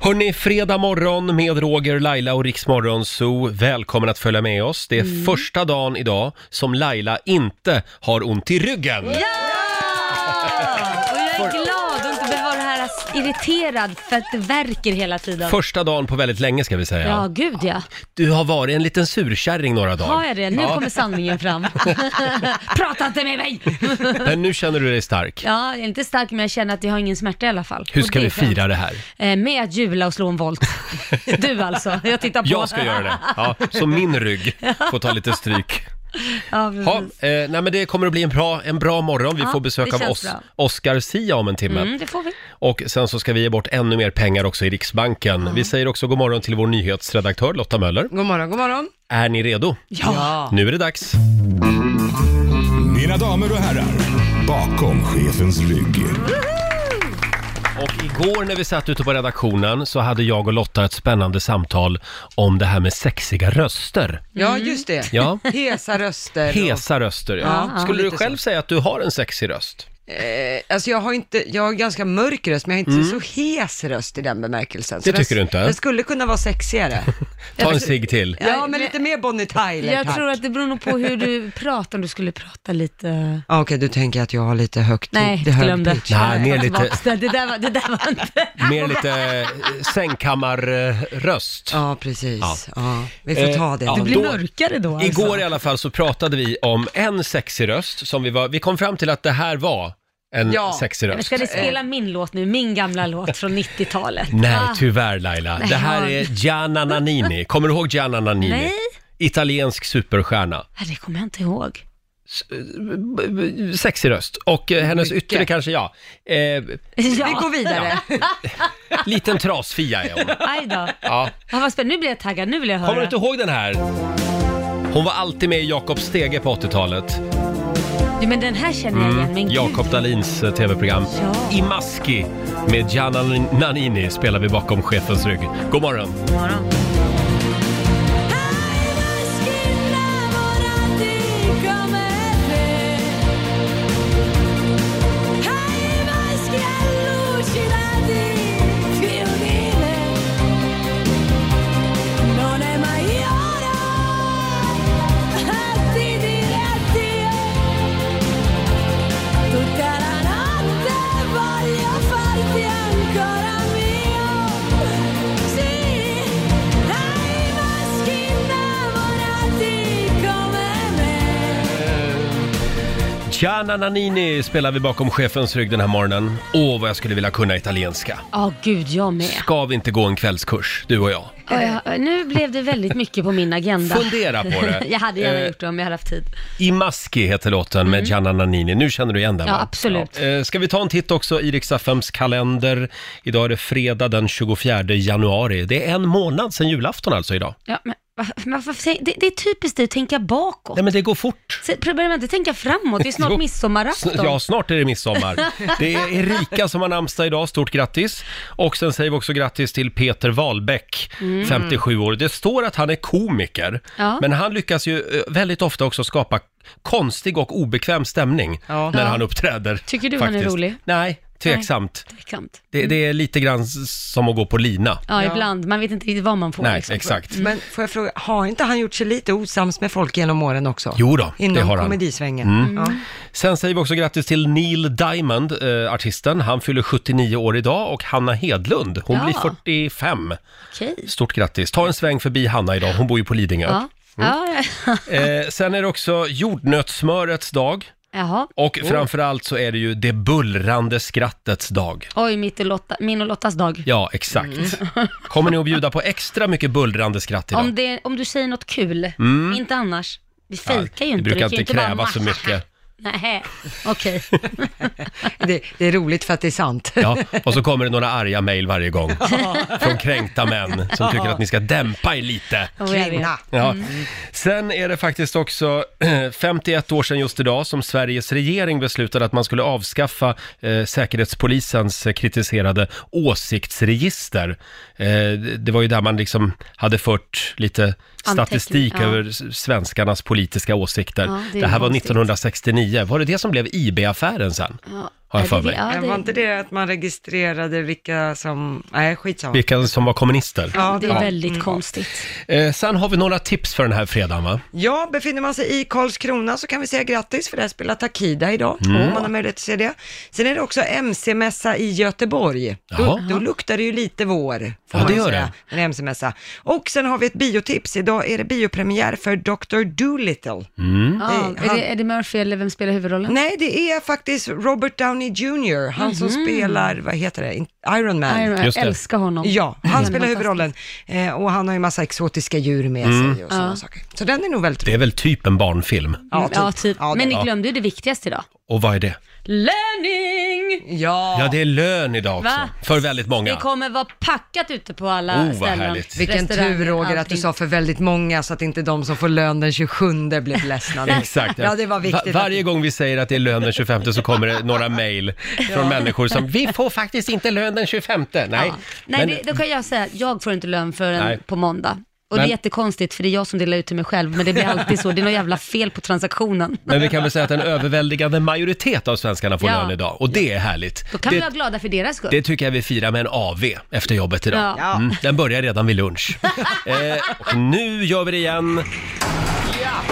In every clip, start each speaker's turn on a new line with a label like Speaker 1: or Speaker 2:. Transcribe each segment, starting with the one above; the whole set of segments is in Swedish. Speaker 1: Hörni, fredag morgon med Roger, Laila och Riksmorgon Zoo. Välkommen att följa med oss. Det är
Speaker 2: Mm.
Speaker 1: första dagen idag som Laila inte har ont i ryggen.
Speaker 2: Och jag är glad och inte behöver vara här irriterad för att det verkar hela tiden.
Speaker 1: Första dagen på väldigt länge ska vi
Speaker 2: ja.
Speaker 1: säga.
Speaker 2: gud ja.
Speaker 1: Du har varit en liten surkärring några dagar.
Speaker 2: Har jag det? Nu
Speaker 1: Ja.
Speaker 2: kommer sanningen fram. Prata inte med mig!
Speaker 1: Men nu känner du dig stark.
Speaker 2: ja, jag är inte stark men jag känner att jag har ingen smärta i alla fall.
Speaker 1: Hur
Speaker 2: Och
Speaker 1: ska
Speaker 2: det
Speaker 1: vi
Speaker 2: är skönt.
Speaker 1: fira det här?
Speaker 2: Eh, Med att jula och slå en volt. Du alltså, jag tittar på.
Speaker 1: Jag ska göra det. Ja, så min rygg får ta lite stryk.
Speaker 2: Ja,
Speaker 1: Ja,
Speaker 2: precis.
Speaker 1: eh, nej, men det kommer att bli en bra, en bra morgon. Vi
Speaker 2: Mm. Ja,
Speaker 1: får besök
Speaker 2: det
Speaker 1: av
Speaker 2: känns
Speaker 1: oss,
Speaker 2: bra.
Speaker 1: Oscar Sia om en timme.
Speaker 2: Mm, det får vi.
Speaker 1: Och sen så ska vi ge bort ännu mer pengar också i Riksbanken. Vi säger också god morgon till vår nyhetsredaktör Lotta Möller.
Speaker 3: God morgon, god morgon.
Speaker 1: Är ni redo?
Speaker 3: Ja.
Speaker 1: Nu är det dags.
Speaker 4: Mina damer och herrar, bakom chefens rygg.
Speaker 1: Och igår när vi satt ute på redaktionen så hade jag och Lotta ett spännande samtal om det här med sexiga röster.
Speaker 3: Ja, just det.
Speaker 1: Ja.
Speaker 3: Hesa röster.
Speaker 1: Hesa röster, ja.
Speaker 3: Ja,
Speaker 1: Skulle du
Speaker 3: lite så.
Speaker 1: själv säga att du har en sexig röst?
Speaker 3: Och, eh, alltså jag har inte, jag har ganska mörk röst, men jag har inte så hes röst i den bemärkelsen. Så
Speaker 1: Mm. Det tycker
Speaker 3: den,
Speaker 1: du inte?
Speaker 3: Den skulle kunna vara sexigare.
Speaker 1: Ta en cigg till.
Speaker 3: ja, men lite mer Bonnie Tyler,
Speaker 2: Jag
Speaker 3: tack.
Speaker 2: tror att det beror nog på hur du pratar, om du skulle prata lite...
Speaker 3: Ja, Okej, du tänker att jag har lite högt
Speaker 2: Nej,
Speaker 3: det är hög
Speaker 2: glöm det.
Speaker 3: pitch.
Speaker 1: Nej, mer lite,
Speaker 2: Det där var, det där var inte...
Speaker 1: mer lite eh, sängkammarröst.
Speaker 3: Ja, precis.
Speaker 1: Ja.
Speaker 3: Ja. Vi får
Speaker 1: Eh,
Speaker 3: ta det.
Speaker 1: ja.
Speaker 2: Det
Speaker 3: då.
Speaker 2: blir
Speaker 1: Då-
Speaker 2: mörkare då alltså.
Speaker 1: Igår i alla fall så pratade vi om en sexig röst som vi var, vi kom fram till att det här var en
Speaker 3: Ja.
Speaker 1: sexig
Speaker 2: Men
Speaker 1: röst.
Speaker 2: ska ni spela min låt nu? Min gamla låt från 90-talet.
Speaker 1: Nej, typ-
Speaker 2: Ah,
Speaker 1: tyvärr Laila. Det här är Gianna Nannini. Kommer du ihåg Gianna Nannini?
Speaker 2: Nej.
Speaker 1: Italiensk superstjärna.
Speaker 2: nej, det kommer jag inte ihåg.
Speaker 1: B- b- Sexig röst. Och eh, hennes
Speaker 3: Mycket.
Speaker 1: yttre kanske, ja. Eh,
Speaker 3: Vi går
Speaker 2: Ja,
Speaker 3: vidare.
Speaker 1: liten trasfia är hon.
Speaker 2: aj då.
Speaker 1: Ja.
Speaker 2: Ja, vad spännande. Nu blir jag taggad, nu vill jag höra.
Speaker 1: Kommer du inte ihåg den här? Hon var alltid med i Jakob Stege på 80-talet.
Speaker 2: Jo, men den här känner jag
Speaker 1: Mm,
Speaker 2: igen, men gud.
Speaker 1: Jakob Dalins eh, tv-program.
Speaker 2: Ja.
Speaker 1: I Maski med Gianna Nannini spelar vi bakom chefens rygg. God morgon!
Speaker 2: God morgon.
Speaker 5: Tutta la notte voglio farti ancora mio Sì, hai maschi innamorati come me
Speaker 1: Gianna Nannini spelar vi bakom chefens rygg den här morgonen. Åh, vad jag skulle vilja kunna italienska.
Speaker 2: Ja, gud, jag med.
Speaker 1: Ska vi inte gå en kvällskurs, du och jag?
Speaker 2: Ja, ja, nu blev det väldigt mycket på min agenda.
Speaker 1: Fundera på det.
Speaker 2: jag hade gärna
Speaker 1: Eh,
Speaker 2: gjort det om jag hade haft tid.
Speaker 1: I Maski heter låten med Gianna Nannini. Nu känner du igen den
Speaker 2: Mm. Ja,
Speaker 1: va?
Speaker 2: absolut.
Speaker 1: Ja. Eh, Ska vi ta en titt också i Riksaffems kalender? Idag är det fredag den 24 januari. Det är en månad sedan julafton alltså idag.
Speaker 2: Ja, men, va- men varför, säger- det, det är typiskt dig att tänka bakåt.
Speaker 1: Nej men det går fort.
Speaker 2: Se- Börja inte tänka framåt, det är
Speaker 1: Jo.
Speaker 2: snart midsommarafton.
Speaker 1: S- Ja, snart är det midsommar. Det är Erika som har namnsdag idag, stort grattis. Och sen säger vi också grattis till Peter Wahlbeck, 57 år. Det står att han är komiker,
Speaker 2: Mm. Ja.
Speaker 1: men han lyckas ju eh, väldigt ofta också skapa konstig och obekväm stämning
Speaker 3: Ja.
Speaker 1: när
Speaker 2: Ja.
Speaker 1: han uppträder.
Speaker 2: Tycker du han är rolig?
Speaker 1: Nej, tveksamt.
Speaker 2: Tveksamt.
Speaker 1: Det, det är lite grann s- som att gå på lina.
Speaker 2: Ja,
Speaker 3: Ja.
Speaker 2: ibland. Man vet inte riktigt vad man får.
Speaker 1: Nej,
Speaker 2: liksom.
Speaker 1: exakt.
Speaker 3: Men får jag fråga, har inte han gjort sig lite osams med folk genom åren också?
Speaker 1: Jo då, det
Speaker 3: Inom
Speaker 1: har han. Mm.
Speaker 3: komedisvängen. Ja.
Speaker 1: Sen säger vi också grattis till Neil Diamond, eh, artisten. Han fyller 79 år idag och Hanna Hedlund, hon
Speaker 2: Ja.
Speaker 1: blir 45.
Speaker 2: Okej.
Speaker 1: Stort grattis. Ta en sväng förbi Hanna idag, hon bor ju på Lidingö.
Speaker 2: Ja. Ja, ja.
Speaker 1: Eh, sen är det också jordnötssmörets dag.
Speaker 2: Jaha.
Speaker 1: Och framförallt så är det ju det bullrande skrattets dag.
Speaker 2: Oj, mitt och Lotta, min och Lottas dag.
Speaker 1: Ja, exakt. Kommer ni att bjuda på extra mycket bullrande skratt idag?
Speaker 2: Mm. Om, det, om du säger något kul, inte annars. Vi fejkar ju
Speaker 1: Mm. det
Speaker 2: inte.
Speaker 1: brukar
Speaker 2: kan ju
Speaker 1: inte
Speaker 2: bara,
Speaker 1: kräva så mycket.
Speaker 2: Nej, okej.
Speaker 3: Det, det är roligt för att det är sant.
Speaker 1: Ja, och så kommer det några arga mejl varje gång. Från kränkta män som tycker att ni ska dämpa er lite.
Speaker 2: Och jag vet.
Speaker 3: Kvinna.
Speaker 1: Ja.
Speaker 2: Mm.
Speaker 1: Sen är det faktiskt också 51 år sedan just idag som Sveriges regering beslutade att man skulle avskaffa eh, Säkerhetspolisens eh, kritiserade åsiktsregister. Eh, det- det var ju där man liksom hade fört lite statistik
Speaker 2: ja.
Speaker 1: över s- svenskarnas politiska åsikter.
Speaker 2: Ja, det
Speaker 1: det,
Speaker 2: är
Speaker 1: här var
Speaker 2: konstigt.
Speaker 1: 1969. Var det det som blev IB-affären sen?
Speaker 2: Ja.
Speaker 1: har jag
Speaker 2: Ja,
Speaker 1: för
Speaker 2: det-
Speaker 1: mig.
Speaker 2: ja,
Speaker 3: Eh, Var inte det att man registrerade vilka som, nej skitsamma.
Speaker 1: Vilka som var kommunister.
Speaker 3: Ja, Mm.
Speaker 2: Det är väldigt konstigt.
Speaker 1: Eh, sen har vi några tips för den här fredagen va?
Speaker 3: Ja, befinner man sig i Karlskrona så kan vi säga grattis för där spelar Takida idag,
Speaker 1: Mm.
Speaker 3: om man har möjlighet att se det. Sen är det också MC-mässa i Göteborg. Då,
Speaker 1: Jaha.
Speaker 3: då luktar det ju lite vår, får
Speaker 1: Ja,
Speaker 3: man
Speaker 1: det
Speaker 3: ju
Speaker 1: gör
Speaker 3: säga, en MC-mässa. Och sen har vi ett biotips, idag är det biopremiär för Dr. Dolittle.
Speaker 1: Mm.
Speaker 2: Ja,
Speaker 3: Det-
Speaker 2: är det Eddie Murphy eller vem spelar huvudrollen?
Speaker 3: Nej, det är faktiskt Robert Downey Jr, han som spelar, vad heter det, In- Iron Man.
Speaker 2: Mhm. Iron Man,
Speaker 1: Just
Speaker 2: jag
Speaker 1: det.
Speaker 2: älskar honom.
Speaker 3: Ja, han spelar
Speaker 2: fantastisk.
Speaker 3: huvudrollen eh, och han har ju massa exotiska djur med sig och sådana saker. Så den är nog väldigt
Speaker 1: Det är väl typ en barnfilm.
Speaker 2: Ja, typ.
Speaker 3: Ja, det-
Speaker 2: Men ni glömde ju det viktigaste idag.
Speaker 1: Och vad är det?
Speaker 2: Löning!
Speaker 3: Ja,
Speaker 1: Ja, det är lön idag också.
Speaker 2: Va?
Speaker 1: För väldigt många.
Speaker 2: Det kommer vara packat ute på alla
Speaker 1: Oh, vad
Speaker 2: ställen.
Speaker 1: härligt.
Speaker 3: vilken
Speaker 2: Restauranger,
Speaker 3: tur Roger att
Speaker 2: allting.
Speaker 3: du sa för väldigt många så att inte de som får lön den 27 blev ledsna.
Speaker 1: Exakt.
Speaker 3: Ja, det var viktigt.
Speaker 1: Va- varje gång vi säger att det är lön den 25 så kommer det några mejl från människor som “Vi får faktiskt inte lön den 25”. Nej,
Speaker 2: Ja. Nej,
Speaker 1: men
Speaker 2: det, då kan jag säga, jag får inte lön förrän
Speaker 1: Nej.
Speaker 2: på måndag. Och
Speaker 1: Men-
Speaker 2: det är jättekonstigt för det är jag som delar ut till mig själv, men det blir alltid så. Det är något jävla fel på transaktionen.
Speaker 1: Men vi kan väl säga att en överväldigande majoritet av svenskarna får
Speaker 2: Ja.
Speaker 1: lön idag och det är härligt.
Speaker 2: Då kan vi
Speaker 1: det,
Speaker 2: vara glada för deras skull.
Speaker 1: det tycker jag vi firar med en AV efter jobbet idag.
Speaker 2: Ja.
Speaker 1: Mm, den börjar redan vid lunch. eh, och nu gör vi det igen. Ja.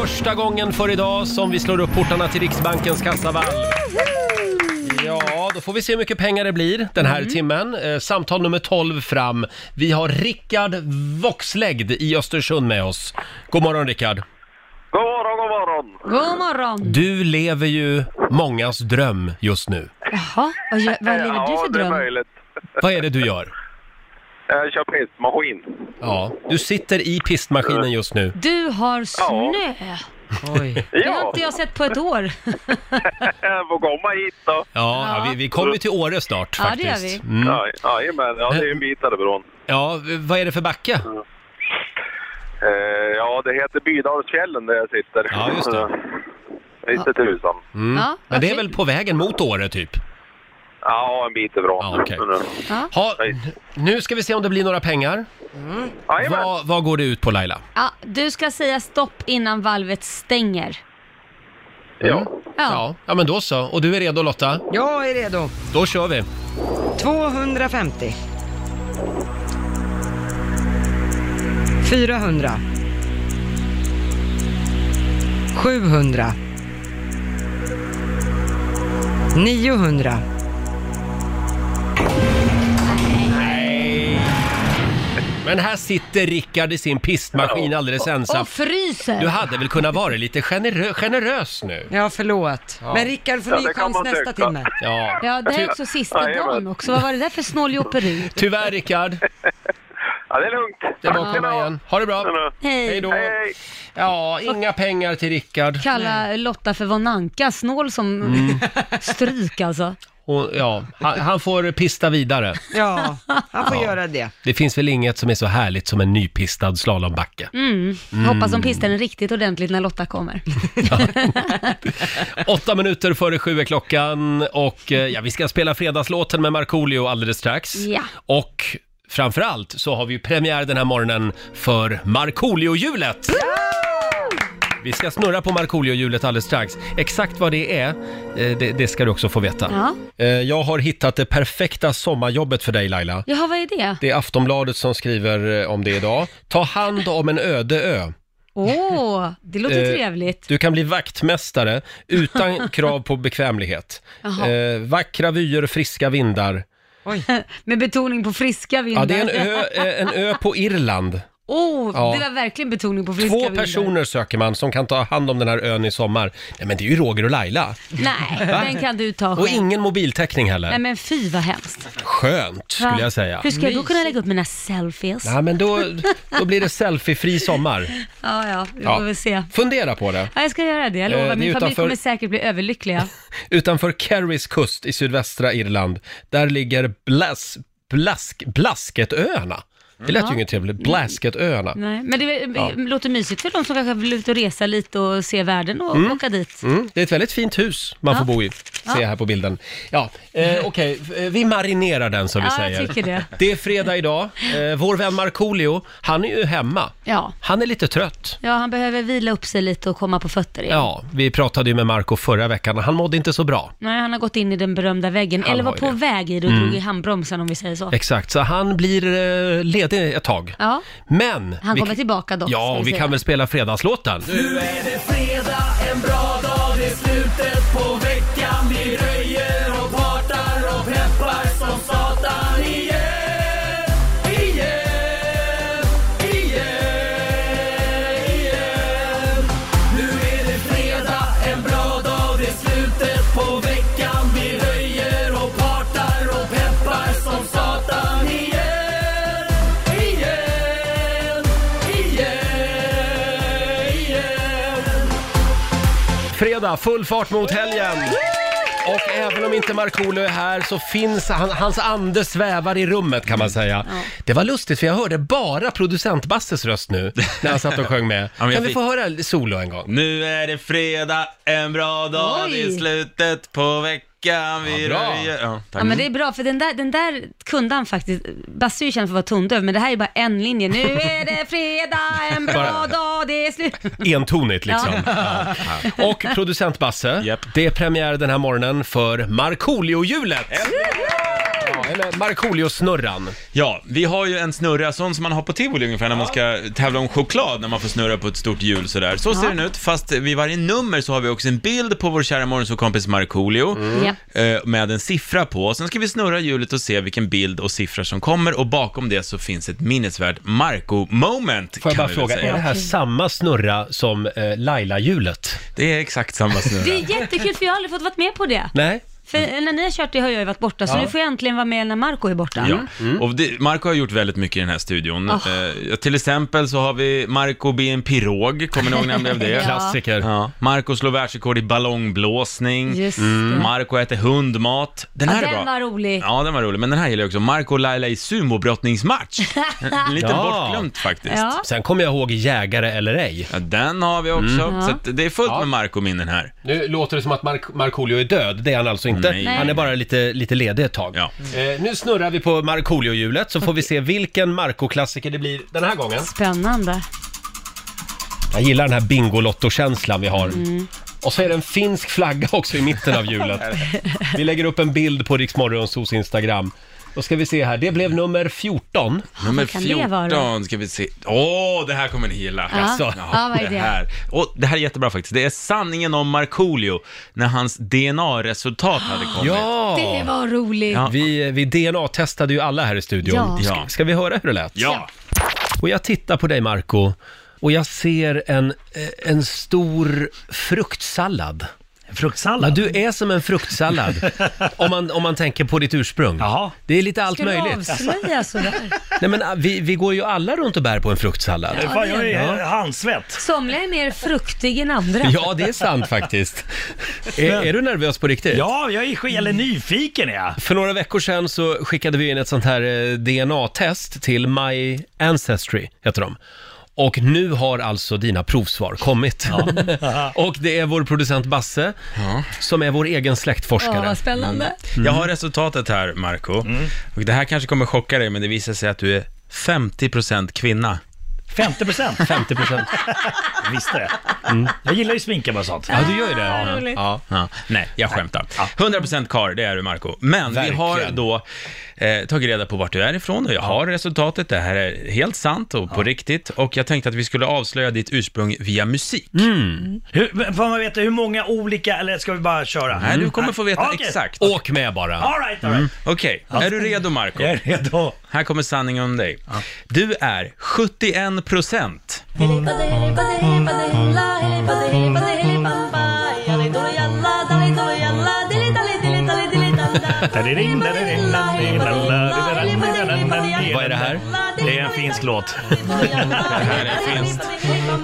Speaker 1: Första gången för idag som vi slår upp portarna till Riksbankens kassavalv. Ja, då får vi se hur mycket pengar det blir den här timmen. Eh, samtal nummer 12 fram. Vi har Rickard Voxlägd i Östersund med oss. God morgon Rickard!
Speaker 6: God morgon, god morgon.
Speaker 2: God morgon!
Speaker 1: Du lever ju mångas dröm just nu.
Speaker 2: Jaha, vad, gör, vad lever du
Speaker 6: ja,
Speaker 2: för
Speaker 6: det är
Speaker 2: dröm?
Speaker 6: möjligt.
Speaker 1: Vad är det du gör?
Speaker 6: Jag kör pistmaskin.
Speaker 1: Ja, du sitter i pistmaskinen just nu.
Speaker 2: Du har snö!
Speaker 3: Oj.
Speaker 2: Det har
Speaker 6: Ja,
Speaker 2: inte jag sett på ett år.
Speaker 6: jag får komma hit då.
Speaker 1: Ja, ja. vi, vi kommer ju till Åre snart
Speaker 2: Ja, det
Speaker 1: faktiskt.
Speaker 2: gör
Speaker 1: vi. Mm.
Speaker 6: Ja, jajamän, ja, det är en bit därifrån.
Speaker 1: Ja, vad är det för backe?
Speaker 6: Eh, ja, det heter Bydalsfjällen där jag sitter.
Speaker 1: Ja, just det.
Speaker 6: Eh, Inte tusan.
Speaker 2: Ja,
Speaker 1: Mm. Men det är
Speaker 2: okej.
Speaker 1: väl på vägen mot Åre typ?
Speaker 6: Ja, en bit Mm. ifrån.
Speaker 1: Ja, okej.
Speaker 2: Ja.
Speaker 1: Ha, nu ska vi se om det blir några pengar.
Speaker 6: Jajamän.
Speaker 1: Vad, vad går det ut på Laila?
Speaker 2: Ja, du ska säga stopp innan valvet stänger.
Speaker 6: Ja.
Speaker 2: Ja.
Speaker 1: Mm. Ja. ja, men då så. Och du är redo Lotta?
Speaker 3: Jag är redo.
Speaker 1: Då kör vi.
Speaker 3: 250. 400. 700. 900.
Speaker 1: Men här sitter Rickard i sin pistmaskin alldeles ensam.
Speaker 2: Och fryser!
Speaker 1: Du hade väl kunnat vara lite generö- generös nu?
Speaker 3: Ja, förlåt. Men Rickard får
Speaker 6: Ja,
Speaker 3: ny
Speaker 6: det kan
Speaker 3: chans
Speaker 6: man
Speaker 3: nästa
Speaker 6: tycka.
Speaker 3: timme.
Speaker 1: Ja.
Speaker 2: Ja, det här
Speaker 1: Ty-
Speaker 2: är också sista
Speaker 6: Ja, jajamän.
Speaker 2: dagen också. Vad var det där för snåljåperi?
Speaker 1: Tyvärr Rickard,
Speaker 6: ja, det är lugnt.
Speaker 1: det är bara att komma igen. Ha det bra. Hej
Speaker 2: Hej!
Speaker 1: då.
Speaker 6: Hej, hej.
Speaker 1: Ja, inga pengar till Rickard.
Speaker 2: Kalla Lotta för von Anka, snål som
Speaker 1: Mm.
Speaker 2: stryk alltså.
Speaker 1: Och, ja, han, han får pista vidare.
Speaker 3: Ja, han får göra det.
Speaker 1: Det finns väl inget som är så härligt som en nypistad slalombacke.
Speaker 2: Mm.
Speaker 1: Mm.
Speaker 2: Hoppas de pistar den riktigt ordentligt när Lotta kommer.
Speaker 1: Åtta minuter före sju är klockan och eh, ja, vi ska spela fredagslåten med Markoolio alldeles strax.
Speaker 2: Ja.
Speaker 1: Och framförallt så har vi ju premiär den här morgonen för Markoolio-hjulet! Vi ska snurra på Markoolio-hjulet alldeles strax. Exakt vad det är, eh, det, det ska du också få veta.
Speaker 2: Ja.
Speaker 1: Eh, Jag har hittat det perfekta sommarjobbet för dig Laila.
Speaker 2: Jaha, vad är det?
Speaker 1: Det är Aftonbladet som skriver eh, om det idag. Ta hand om en öde ö.
Speaker 2: Åh, det låter
Speaker 1: Eh,
Speaker 2: trevligt.
Speaker 1: Du kan bli vaktmästare utan krav på bekvämlighet.
Speaker 2: Jaha.
Speaker 1: Eh, vackra vyer, friska vindar.
Speaker 2: Med betoning på friska vindar.
Speaker 1: Ja, det är en ö, eh, en ö på Irland.
Speaker 2: Åh,
Speaker 1: Ja.
Speaker 2: det var verkligen betoning på friska
Speaker 1: Två
Speaker 2: vindar.
Speaker 1: personer söker man som kan ta hand om den här ön i sommar. Nej, men det är ju Roger och Laila.
Speaker 2: Nej, den kan du ta
Speaker 1: Och
Speaker 2: själv.
Speaker 1: ingen mobiltäckning
Speaker 2: Nej
Speaker 1: heller.
Speaker 2: men fy vad hemskt.
Speaker 1: Skönt,
Speaker 2: Va?
Speaker 1: skulle jag säga.
Speaker 2: Hur ska jag då kunna lägga upp mina selfies?
Speaker 1: Nej, men då, då blir det selfiefri sommar.
Speaker 2: Ja, ja, vi
Speaker 1: Ja.
Speaker 2: får väl se.
Speaker 1: Fundera på det.
Speaker 2: Ja, jag ska göra det, jag
Speaker 1: Eh, det
Speaker 2: lovar.
Speaker 1: är
Speaker 2: Min familj
Speaker 1: utanför-
Speaker 2: kommer säkert bli överlyckliga.
Speaker 1: Utanför Kerrys kust i sydvästra Irland, där ligger Blas, Blask, Blasketöarna. Det lät ju
Speaker 2: Ja.
Speaker 1: inget trevligt. Blasketöarna.
Speaker 2: Nej, men det eh,
Speaker 1: Ja.
Speaker 2: låter mysigt för de som kanske vill ut och resa lite och se världen och
Speaker 1: Mm.
Speaker 2: åka dit.
Speaker 1: Mm, det är ett väldigt fint hus man
Speaker 2: Ja.
Speaker 1: får bo i,
Speaker 2: Ja.
Speaker 1: ser jag här på bilden. Ja, eh, okej, eh, vi marinerar den som vi
Speaker 2: Ja, jag
Speaker 1: säger.
Speaker 2: tycker det.
Speaker 1: är fredag idag. Eh, vår vän Markoolio, han är ju hemma.
Speaker 2: Ja.
Speaker 1: Han är lite trött.
Speaker 2: ja, han behöver vila upp sig lite och komma på fötter igen.
Speaker 1: Ja, vi pratade ju med Marco förra veckan och han mådde inte så bra.
Speaker 2: Nej, han har gått in i den berömda väggen,
Speaker 1: Han
Speaker 2: eller var
Speaker 1: har ju
Speaker 2: på
Speaker 1: det.
Speaker 2: väg i det och
Speaker 1: Mm.
Speaker 2: drog i handbromsen om vi säger så.
Speaker 1: Exakt, så han blir eh, ledig ett tag.
Speaker 2: Ja,
Speaker 1: Men...
Speaker 2: han
Speaker 1: vi-
Speaker 2: kommer tillbaka dock.
Speaker 1: Ja,
Speaker 2: ska
Speaker 1: och vi
Speaker 2: säga.
Speaker 1: kan väl spela fredagslåten.
Speaker 5: Nu är det fredag, en bra dag, det är slutet på veckan Vi röjer och partar och peppar som satan igen Igen, igen, igen Nu är det fredag, en bra dag, det är slutet på veckan Vi röjer och partar och peppar som satan igen Igen, igen, igen
Speaker 1: Fredag, full fart mot helgen! Och även om inte Markoolio är här så finns han, hans ande svävar i rummet kan man säga. Det var lustigt för jag hörde bara producent Basses röst nu när han satt och sjöng med.
Speaker 7: men jag
Speaker 1: kan vi
Speaker 7: fick-
Speaker 1: få höra solo en gång?
Speaker 7: Nu är det fredag, en bra dag, det är
Speaker 2: Oj.
Speaker 7: slutet på veckan, vi
Speaker 1: Ja, bra.
Speaker 7: röjer... Ja, tack.
Speaker 2: Ja
Speaker 1: Mm.
Speaker 2: men det är bra, för den där, den där kunde han faktiskt, Basse är ju känd för att vara tondöv, men det här är bara en linje. Nu är det fredag, en bra
Speaker 1: Bara-
Speaker 2: dag, det är slut.
Speaker 1: Entonigt liksom.
Speaker 2: Ja.
Speaker 1: Ja. Och producent Basse, det är premiär den här morgonen för Markoolio-hjulet! Ja, eller Markoolio-snurran.
Speaker 7: Ja, vi har ju en snurra, sån som man har på tivoli ungefär när man ska tävla om choklad, när man får snurra på ett stort hjul sådär. Så ser
Speaker 2: Ja.
Speaker 7: den ut, fast vid varje nummer så har vi också en bild på vår kära morgonsåkompis Markoolio,
Speaker 2: Mm.
Speaker 7: eh, med en siffra på. Sen ska vi snurra hjulet och se vilken bild och siffra som kommer, och bakom det så finns ett minnesvärt Marco-moment,
Speaker 1: Får jag bara
Speaker 7: kan vi väl
Speaker 1: fråga,
Speaker 7: säga.
Speaker 1: är det här samma snurra som eh, Laila-hjulet?
Speaker 7: Det är exakt samma snurra.
Speaker 2: Det är jättekul, för jag har aldrig fått vara med på det.
Speaker 1: Nej?
Speaker 2: För när ni har kört det har jag ju varit borta, så
Speaker 7: Ja.
Speaker 2: nu får jag äntligen vara med när Marco är borta.
Speaker 7: Ja, Mm. och det, Marco har gjort väldigt mycket i den här studion.
Speaker 2: Mm. Ah.
Speaker 7: Eh, till exempel så har vi Marco blir en pirog, kommer ni ihåg när han blev det?
Speaker 2: Ja. Klassiker.
Speaker 7: Ja. Marco slår världsrekord i ballongblåsning.
Speaker 2: Just det. Mm.
Speaker 7: Marco äter hundmat. Den
Speaker 2: Ja,
Speaker 7: här
Speaker 2: den
Speaker 7: är bra.
Speaker 2: var rolig.
Speaker 7: Ja, den var rolig, men den här gillar jag också. Marco och Laila i sumobrottningsmatch. En liten
Speaker 1: Ja.
Speaker 7: bortglömt faktiskt.
Speaker 2: Ja.
Speaker 1: Sen kommer jag ihåg Jägare eller ej.
Speaker 7: Ja, den har vi också,
Speaker 2: Mm.
Speaker 7: så att det är fullt med Marco-minnen här.
Speaker 1: Nu låter det som att Mark- Markoolio är död, det är han alltså inte.
Speaker 7: Nej.
Speaker 1: Han är bara lite, lite ledig ett tag.
Speaker 7: Ja.
Speaker 1: Eh, nu snurrar vi på Markoolio-hjulet så får vi se vilken Marco-klassiker det blir den här gången.
Speaker 2: Spännande.
Speaker 1: Jag gillar den här Bingolotto-känslan vi har.
Speaker 7: Mm.
Speaker 1: Och så är det en finsk flagga också i mitten av hjulet. Vi lägger upp en bild på Riksmorgonsos Instagram. Då ska vi se här, det blev nummer 14.
Speaker 7: Nummer
Speaker 2: kan det vara?
Speaker 7: 14 ska vi se. Åh, det här kommer ni gilla. Alltså,
Speaker 2: Ja. Ja, vad är det?
Speaker 7: här. Och det här är jättebra faktiskt. Det är sanningen om Markoolio när hans DNA-resultat hade
Speaker 2: Ah.
Speaker 7: kommit.
Speaker 1: Ja!
Speaker 2: Det var roligt.
Speaker 7: Ja.
Speaker 1: Vi, vi DNA-testade ju alla här i studion.
Speaker 2: Ja.
Speaker 1: Ska, ska vi höra hur det lät?
Speaker 7: Ja.
Speaker 1: Och jag tittar på dig Marco och jag ser en, eh, en stor fruktsallad.
Speaker 8: Fruktsallad?
Speaker 1: Ja, du är som en fruktsallad om, man, om man tänker på ditt ursprung.
Speaker 8: Jaha.
Speaker 1: Det är lite allt
Speaker 2: Ska du
Speaker 1: möjligt.
Speaker 2: avslöja sådär?
Speaker 1: Nej, men, ah, vi, vi går ju alla runt och bär på en fruktsallad.
Speaker 8: Ja, Fan, jag är handsvett.
Speaker 2: Somliga är mer fruktig än andra.
Speaker 1: Ja, det är sant faktiskt. Är, är du nervös på riktigt?
Speaker 8: Ja, jag är sk- eller nyfiken är jag.
Speaker 1: För några veckor sedan så skickade vi in ett sånt här eh, DNA-test till My Ancestry, heter de. Och nu har alltså dina provsvar kommit. och det är vår producent Basse som är vår egen
Speaker 2: Åh,
Speaker 1: släktforskare.
Speaker 2: vad
Speaker 9: Mm.
Speaker 2: spännande.
Speaker 7: Mm. Jag har resultatet här, Marco.
Speaker 2: Mm.
Speaker 7: Och det här kanske kommer chocka dig, men det visar sig att du är 50% kvinna.
Speaker 8: 50 procent.
Speaker 1: 50 procent.
Speaker 8: Visste det. Jag gillar ju sminka bara sånt.
Speaker 1: Ja, du gör ju det.
Speaker 2: Ah, roligt.
Speaker 1: Ja.
Speaker 7: Ja, nej, jag skämtar. 100% kar, det är du Marco. Men vi
Speaker 1: Verkligen.
Speaker 7: har då eh, tagit reda på vart du är ifrån och jag har resultatet. Det här är helt sant och på riktigt. Och jag tänkte att vi skulle avslöja ditt ursprung via musik.
Speaker 1: Mm.
Speaker 8: Hur, men får man veta hur många olika, eller ska vi bara köra? Mm.
Speaker 7: Nej, du kommer få veta
Speaker 8: Okej.
Speaker 7: exakt.
Speaker 1: Åk med bara.
Speaker 8: All right, all right.
Speaker 9: Mm.
Speaker 7: Okej, är du redo Marco?
Speaker 8: Jag är redo.
Speaker 7: Här kommer sanningen om dig. Du är 71 procent.
Speaker 1: Vad är det här?
Speaker 8: Det är en finsk låt.
Speaker 7: Det här är finst.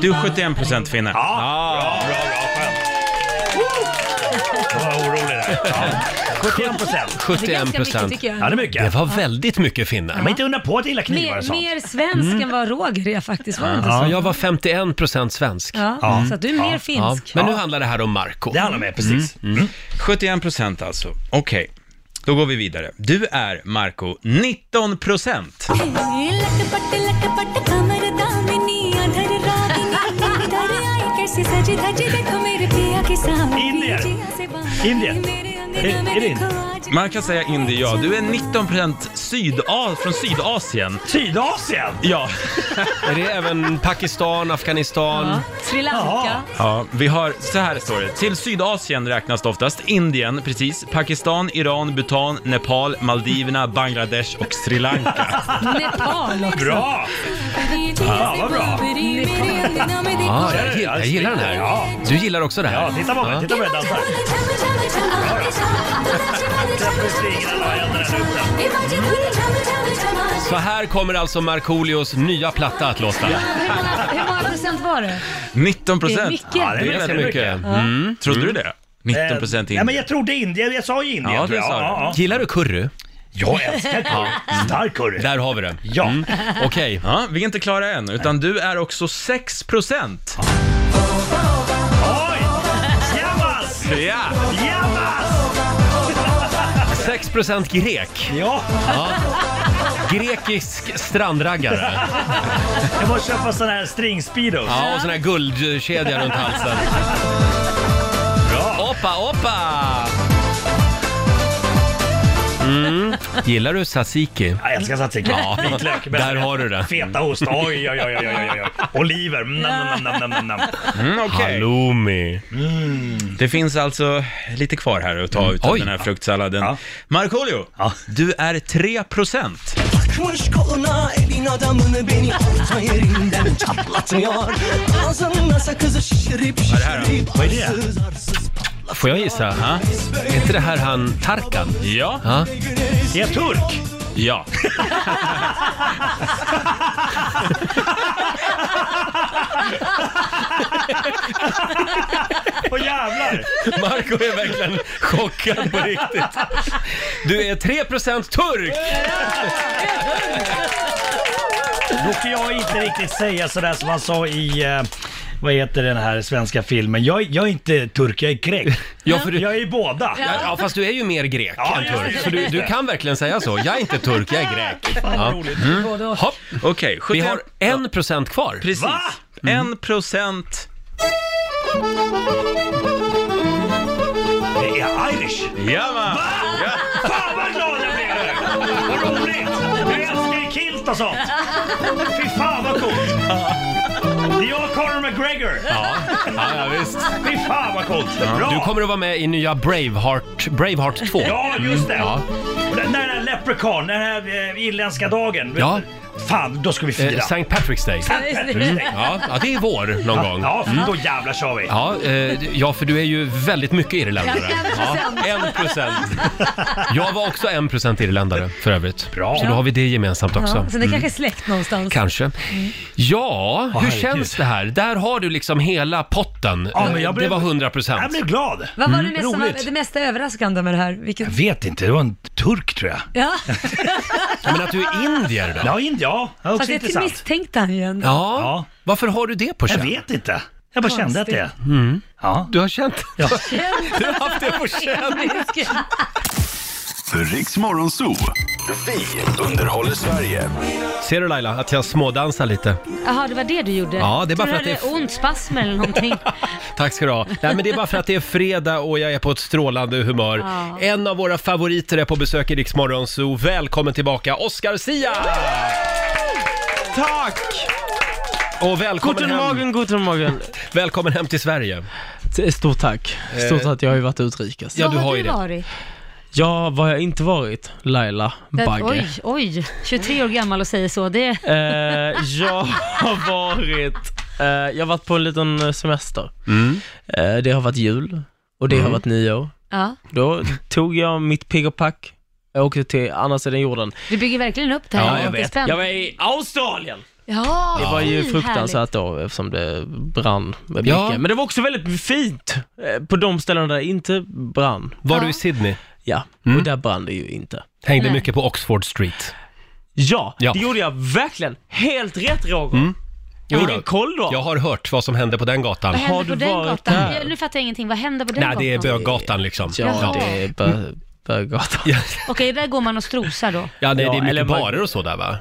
Speaker 7: Du är 71 procent finne.
Speaker 8: Ja, bra, bra, bra. Skönt. Jag var orolig där. 71 procent.
Speaker 1: 71
Speaker 2: ganska mycket,
Speaker 1: procent.
Speaker 2: tycker jag.
Speaker 8: Ja, det är mycket.
Speaker 1: Det var väldigt mycket finnar.
Speaker 8: Men inte undra på att jag gillar knivar
Speaker 2: Mer,
Speaker 8: och sånt.
Speaker 2: mer svensk än vad Roger är faktiskt, var det inte
Speaker 1: Ja,
Speaker 2: så?
Speaker 1: jag var 51 procent svensk.
Speaker 2: Ja, så att du är mer
Speaker 1: Ja,
Speaker 2: finsk.
Speaker 1: men nu handlar det här om Marco.
Speaker 8: Det handlar om det,
Speaker 1: Mm,
Speaker 8: precis.
Speaker 7: 71 procent alltså. Okej, då går vi vidare. Du är, Marco 19 procent.
Speaker 10: लटपट लटपट कमर दामिनी अधर रागिनी इधर आई कैसे सजी धजी देखो मेरे पिया के सामने
Speaker 8: Indier.
Speaker 10: जिया से बाहर
Speaker 8: Indier.
Speaker 10: मेरे अंगना
Speaker 8: Är-
Speaker 10: में
Speaker 8: är det
Speaker 10: देखो
Speaker 8: Indier?
Speaker 10: आज
Speaker 7: Man kan säga indier, ja. Du är 19 procent syda- från Sydasien.
Speaker 8: Sydasien!
Speaker 7: Ja.
Speaker 1: Är det även Pakistan, Afghanistan?
Speaker 2: Ja. Sri Lanka.
Speaker 8: Jaha.
Speaker 7: ja, vi har, så här står det. Till Sydasien räknas det oftast Indien, precis, Pakistan, Iran, Bhutan, Nepal, Maldiverna, Bangladesh och Sri Lanka.
Speaker 2: Nepal också.
Speaker 8: Bra!
Speaker 10: ये जिया
Speaker 8: हाँ,
Speaker 10: से
Speaker 8: वाह, वाह।
Speaker 10: बाहर मेरे अंगना में देखो
Speaker 1: Ja, jag, gillar, jag gillar den
Speaker 8: Ja.
Speaker 1: här. Du gillar också det
Speaker 8: Ja,
Speaker 1: här?
Speaker 8: titta på mig, titta på mig dansa.
Speaker 10: झम झम झम
Speaker 8: Släpper stringarna och händerna där ute.
Speaker 1: Så här kommer alltså Markoolios nya platta att låta.
Speaker 2: Hur många, hur många procent var det?
Speaker 7: 19
Speaker 2: Det är
Speaker 7: procent.
Speaker 2: mycket.
Speaker 8: Ja,
Speaker 1: Det
Speaker 8: det
Speaker 1: är ganska
Speaker 8: väldigt
Speaker 1: mycket.
Speaker 8: mycket.
Speaker 1: Mm.
Speaker 7: Trodde du det? 19
Speaker 8: Eh,
Speaker 7: procent
Speaker 8: Ja, men
Speaker 7: indier.
Speaker 8: jag trodde Indien, jag sa ju Indien
Speaker 7: Ja,
Speaker 8: tror
Speaker 7: det
Speaker 8: jag.
Speaker 7: sa du.
Speaker 8: Ja, ja.
Speaker 1: Gillar du Mm. curry?
Speaker 8: Jag älskar curry. Stark curry.
Speaker 1: Där har vi det.
Speaker 8: Ja.
Speaker 1: Okej.
Speaker 7: Ja, vi är inte klara än, utan du är också 6 procent.
Speaker 8: Oj! Jabbas!
Speaker 7: Ja!
Speaker 8: Jabbas!
Speaker 1: 6% grek.
Speaker 8: Ja,
Speaker 1: Grekisk strandraggare.
Speaker 8: jag måste köpa sån här stringspeedos.
Speaker 1: Ja, och sån här guldkedja runt halsen.
Speaker 8: Bra.
Speaker 1: Oppa, oppa! Mm. Gillar du tzatziki?
Speaker 8: Jag älskar tzatziki.
Speaker 1: Ja,
Speaker 8: Vitlök. bästa.
Speaker 1: där har du det.
Speaker 8: Fetaost. Oj, oj, oj, oj, oj, oj. Oliver. Mm, nam, nam, nam, nam, nam.
Speaker 7: Mm, okej.
Speaker 1: Halloumi.
Speaker 7: Det finns alltså lite kvar här att ta ut av
Speaker 1: Mm. Oj.
Speaker 7: den här fruktsalladen.
Speaker 8: Ja.
Speaker 7: Markoolio,
Speaker 8: Ja.
Speaker 7: du är 3 procent.
Speaker 5: Takmış koluna evin adamını beni orta yerinden çatlatıyor. Ağzında sakızı şişirip şişirip
Speaker 8: Vad är det?
Speaker 5: arsız arsız
Speaker 1: Får jag gissa?
Speaker 7: Ja.
Speaker 1: Är inte det här han Tarkan?
Speaker 7: Ja.
Speaker 1: Ja.
Speaker 8: Är jag turk?
Speaker 7: Ja.
Speaker 8: Åh jävlar!
Speaker 1: Marco är verkligen chockad på riktigt. Du är 3% turk!
Speaker 8: Då kan jag inte riktigt säga sådär som han sa i, eh, vad heter den här svenska filmen? Jag, jag är inte turk, jag är grek.
Speaker 1: Ja, för du, ja,
Speaker 8: Jag är ju båda.
Speaker 1: ja, fast du är ju mer grek
Speaker 8: Ja,
Speaker 1: än
Speaker 8: just det,
Speaker 1: turk.
Speaker 8: just
Speaker 1: Så du,
Speaker 8: det.
Speaker 1: du kan verkligen säga så. Jag är inte turk, jag är grek. Ja. Mm.
Speaker 2: Både och.
Speaker 1: Hopp.
Speaker 7: Okej, Mm.
Speaker 1: Vi
Speaker 7: 71...
Speaker 1: har 1% kvar.
Speaker 7: Precis.
Speaker 8: Va?
Speaker 9: Mm.
Speaker 7: 1 procent.
Speaker 8: Det är irish.
Speaker 7: Ja, va?
Speaker 8: Fan vad glad jag blev nu! Vad roligt! Jag älskar ju kilt och sånt. Fy fan vad coolt! Det är jag och Conor McGregor.
Speaker 1: Ja, ja, ja visst.
Speaker 8: Fy fan vad coolt! Bra!
Speaker 1: Du kommer att vara med i nya Braveheart, Braveheart 2.
Speaker 8: Ja, just det!
Speaker 1: ja.
Speaker 8: Och Den, den här leprechaun, den här eh, irländska dagen.
Speaker 1: Ja.
Speaker 8: Fan, då ska vi
Speaker 1: Eh,
Speaker 8: fira.
Speaker 1: St. Patrick's Day. Mm. Ja, ja, det är vår någon gång.
Speaker 8: Ja, då jävlar kör vi.
Speaker 1: Ja, eh, ja, för du är ju väldigt mycket irländare. Ja, en procent. Jag var också en procent irländare för övrigt.
Speaker 8: Bra.
Speaker 1: Så då har vi det gemensamt också.
Speaker 2: Ja, så det kanske är släkt någonstans.
Speaker 1: Kanske. Ja, hur
Speaker 8: Mm. herregud.
Speaker 1: känns det här? Där har du liksom hela potten.
Speaker 8: Ja, men jag
Speaker 1: Det
Speaker 8: blev-
Speaker 1: var 100
Speaker 8: Jag
Speaker 1: procent.
Speaker 8: blev glad.
Speaker 2: Vad var det, mest som
Speaker 8: roligt.
Speaker 2: var det mesta överraskande med det här? Vilket...
Speaker 8: Vet inte, det var en turk tror jag.
Speaker 2: Ja,
Speaker 1: Men att du är indier då?
Speaker 8: Ja, Indien, ja. Det var
Speaker 2: fast
Speaker 8: också
Speaker 2: det
Speaker 8: intressant.
Speaker 2: misstänkte han ju ändå.
Speaker 1: Ja.
Speaker 8: Ja.
Speaker 1: Varför har du det på
Speaker 8: Jag
Speaker 1: känn?
Speaker 8: vet inte. Jag bara kände att det. Ja.
Speaker 1: Du har känt... Du har haft det på känn.
Speaker 4: Riks Morgonzoo. Vi underhåller Sverige.
Speaker 1: Ser du Laila, att jag smådansar lite?
Speaker 2: Jaha, det var det du gjorde?
Speaker 1: Ja, det är bara
Speaker 2: Tror
Speaker 1: för att
Speaker 2: du
Speaker 1: det är-
Speaker 2: hade ont, spasmer eller någonting?
Speaker 1: Tack ska du ha. Nej, men det är bara för att det är fredag och jag är på ett strålande humör.
Speaker 2: Ja.
Speaker 1: En av våra favoriter är på besök i Rix Morgon, så välkommen tillbaka Oscar Sia!
Speaker 9: Tack!
Speaker 1: Och välkommen
Speaker 9: Guten
Speaker 1: hem,
Speaker 9: Morgen, guten Morgen.
Speaker 1: välkommen hem till Sverige.
Speaker 9: Stort tack.
Speaker 7: Eh.
Speaker 9: Stort tack, jag har ju varit utrikes.
Speaker 1: Ja,
Speaker 2: Vad
Speaker 1: du har
Speaker 2: har
Speaker 1: ju
Speaker 2: du
Speaker 1: det.
Speaker 2: varit?
Speaker 9: Ja, vad har jag inte varit? Laila
Speaker 2: Den-
Speaker 9: Bagge.
Speaker 2: Oj, oj, 23 år gammal och säger så. Det...
Speaker 9: Eh, jag har varit, eh, jag har varit på en liten eh, semester. Eh, det har varit jul och det har varit nyår.
Speaker 2: Ja.
Speaker 9: Då tog jag mitt pigg och pack, jag åkte till andra sidan jorden.
Speaker 2: Du bygger verkligen upp det här.
Speaker 9: Ja,
Speaker 2: är
Speaker 9: jag
Speaker 2: lite
Speaker 9: vet.
Speaker 2: spänd.
Speaker 9: Jag var i Australien!
Speaker 11: Ja,
Speaker 9: Det var ju
Speaker 11: oj,
Speaker 9: fruktansvärt då eftersom det brann med mycket.
Speaker 11: Ja.
Speaker 9: Men det var också väldigt fint eh, på de ställena där det inte brann.
Speaker 1: Var du i Sydney?
Speaker 9: Ja, och där brann det ju inte.
Speaker 1: Hängde mycket på Oxford Street.
Speaker 9: Ja,
Speaker 1: Ja.
Speaker 9: det gjorde jag verkligen. Helt rätt Roger.
Speaker 1: Mm. Jo
Speaker 9: Vilken koll då.
Speaker 1: Jag har hört vad som hände på den gatan.
Speaker 11: Vad händer på den gatan? Jag, nu fattar jag ingenting. Vad händer på den
Speaker 1: Nej,
Speaker 11: gatan?
Speaker 1: det är böggatan liksom.
Speaker 11: Ja, det är bö-
Speaker 8: Mm.
Speaker 9: böggatan.
Speaker 11: Okej, där går man och strosar då.
Speaker 1: Ja, nej,
Speaker 9: Ja,
Speaker 1: det är
Speaker 9: eller
Speaker 1: mycket
Speaker 9: bara-
Speaker 1: barer och så där va?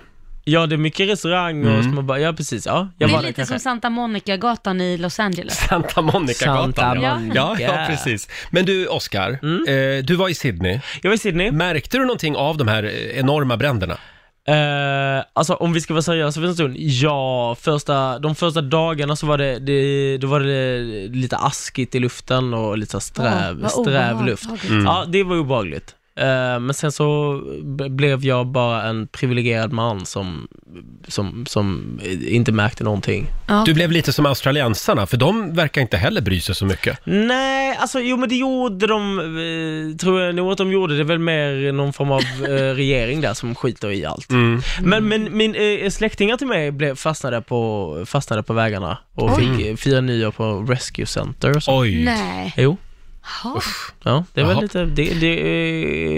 Speaker 9: Ja, det är mycket restaurang och
Speaker 1: Mm.
Speaker 9: små bar. Ja, precis. Ja,
Speaker 11: Det
Speaker 9: jag
Speaker 11: är
Speaker 9: var där
Speaker 11: lite
Speaker 9: kanske.
Speaker 11: som Santa Monica-gatan i Los Angeles.
Speaker 1: Santa Monica-gatan.
Speaker 9: Santa
Speaker 1: ja.
Speaker 9: Monica.
Speaker 1: Ja, ja, precis. Men du, Oscar, eh, du var i Sydney.
Speaker 9: Jag var i Sydney.
Speaker 1: Märkte du någonting av de här eh, enorma bränderna?
Speaker 9: Eh, alltså om vi ska vara seriösa för en stund, ja, första, de första dagarna så var det, det, då var det lite askigt i luften och lite så här
Speaker 11: Åh,
Speaker 9: sträv,
Speaker 11: vad
Speaker 9: sträv luft.
Speaker 11: obehagligt. Mm.
Speaker 9: Ja, det var obehagligt. Eh, men sen så b- blev jag bara en privilegierad man som, som, som inte märkte någonting.
Speaker 1: Du blev lite som australiensarna, för de verkar inte heller bry sig så mycket.
Speaker 9: Nej, alltså jo men det gjorde de, eh, tror jag nog att de gjorde. Det är väl mer någon form av eh, regering där som skiter i allt.
Speaker 1: Mm.
Speaker 9: Men, men min eh, släktingar till mig blev fastnade, på, fastnade på vägarna och
Speaker 11: Oj.
Speaker 9: fick eh, fira nyår på Rescue Center. och så.
Speaker 1: Oj.
Speaker 11: Nej.
Speaker 9: Jo.
Speaker 11: Jaha.
Speaker 9: Ja, det var
Speaker 1: Jaha.
Speaker 9: lite, det, det,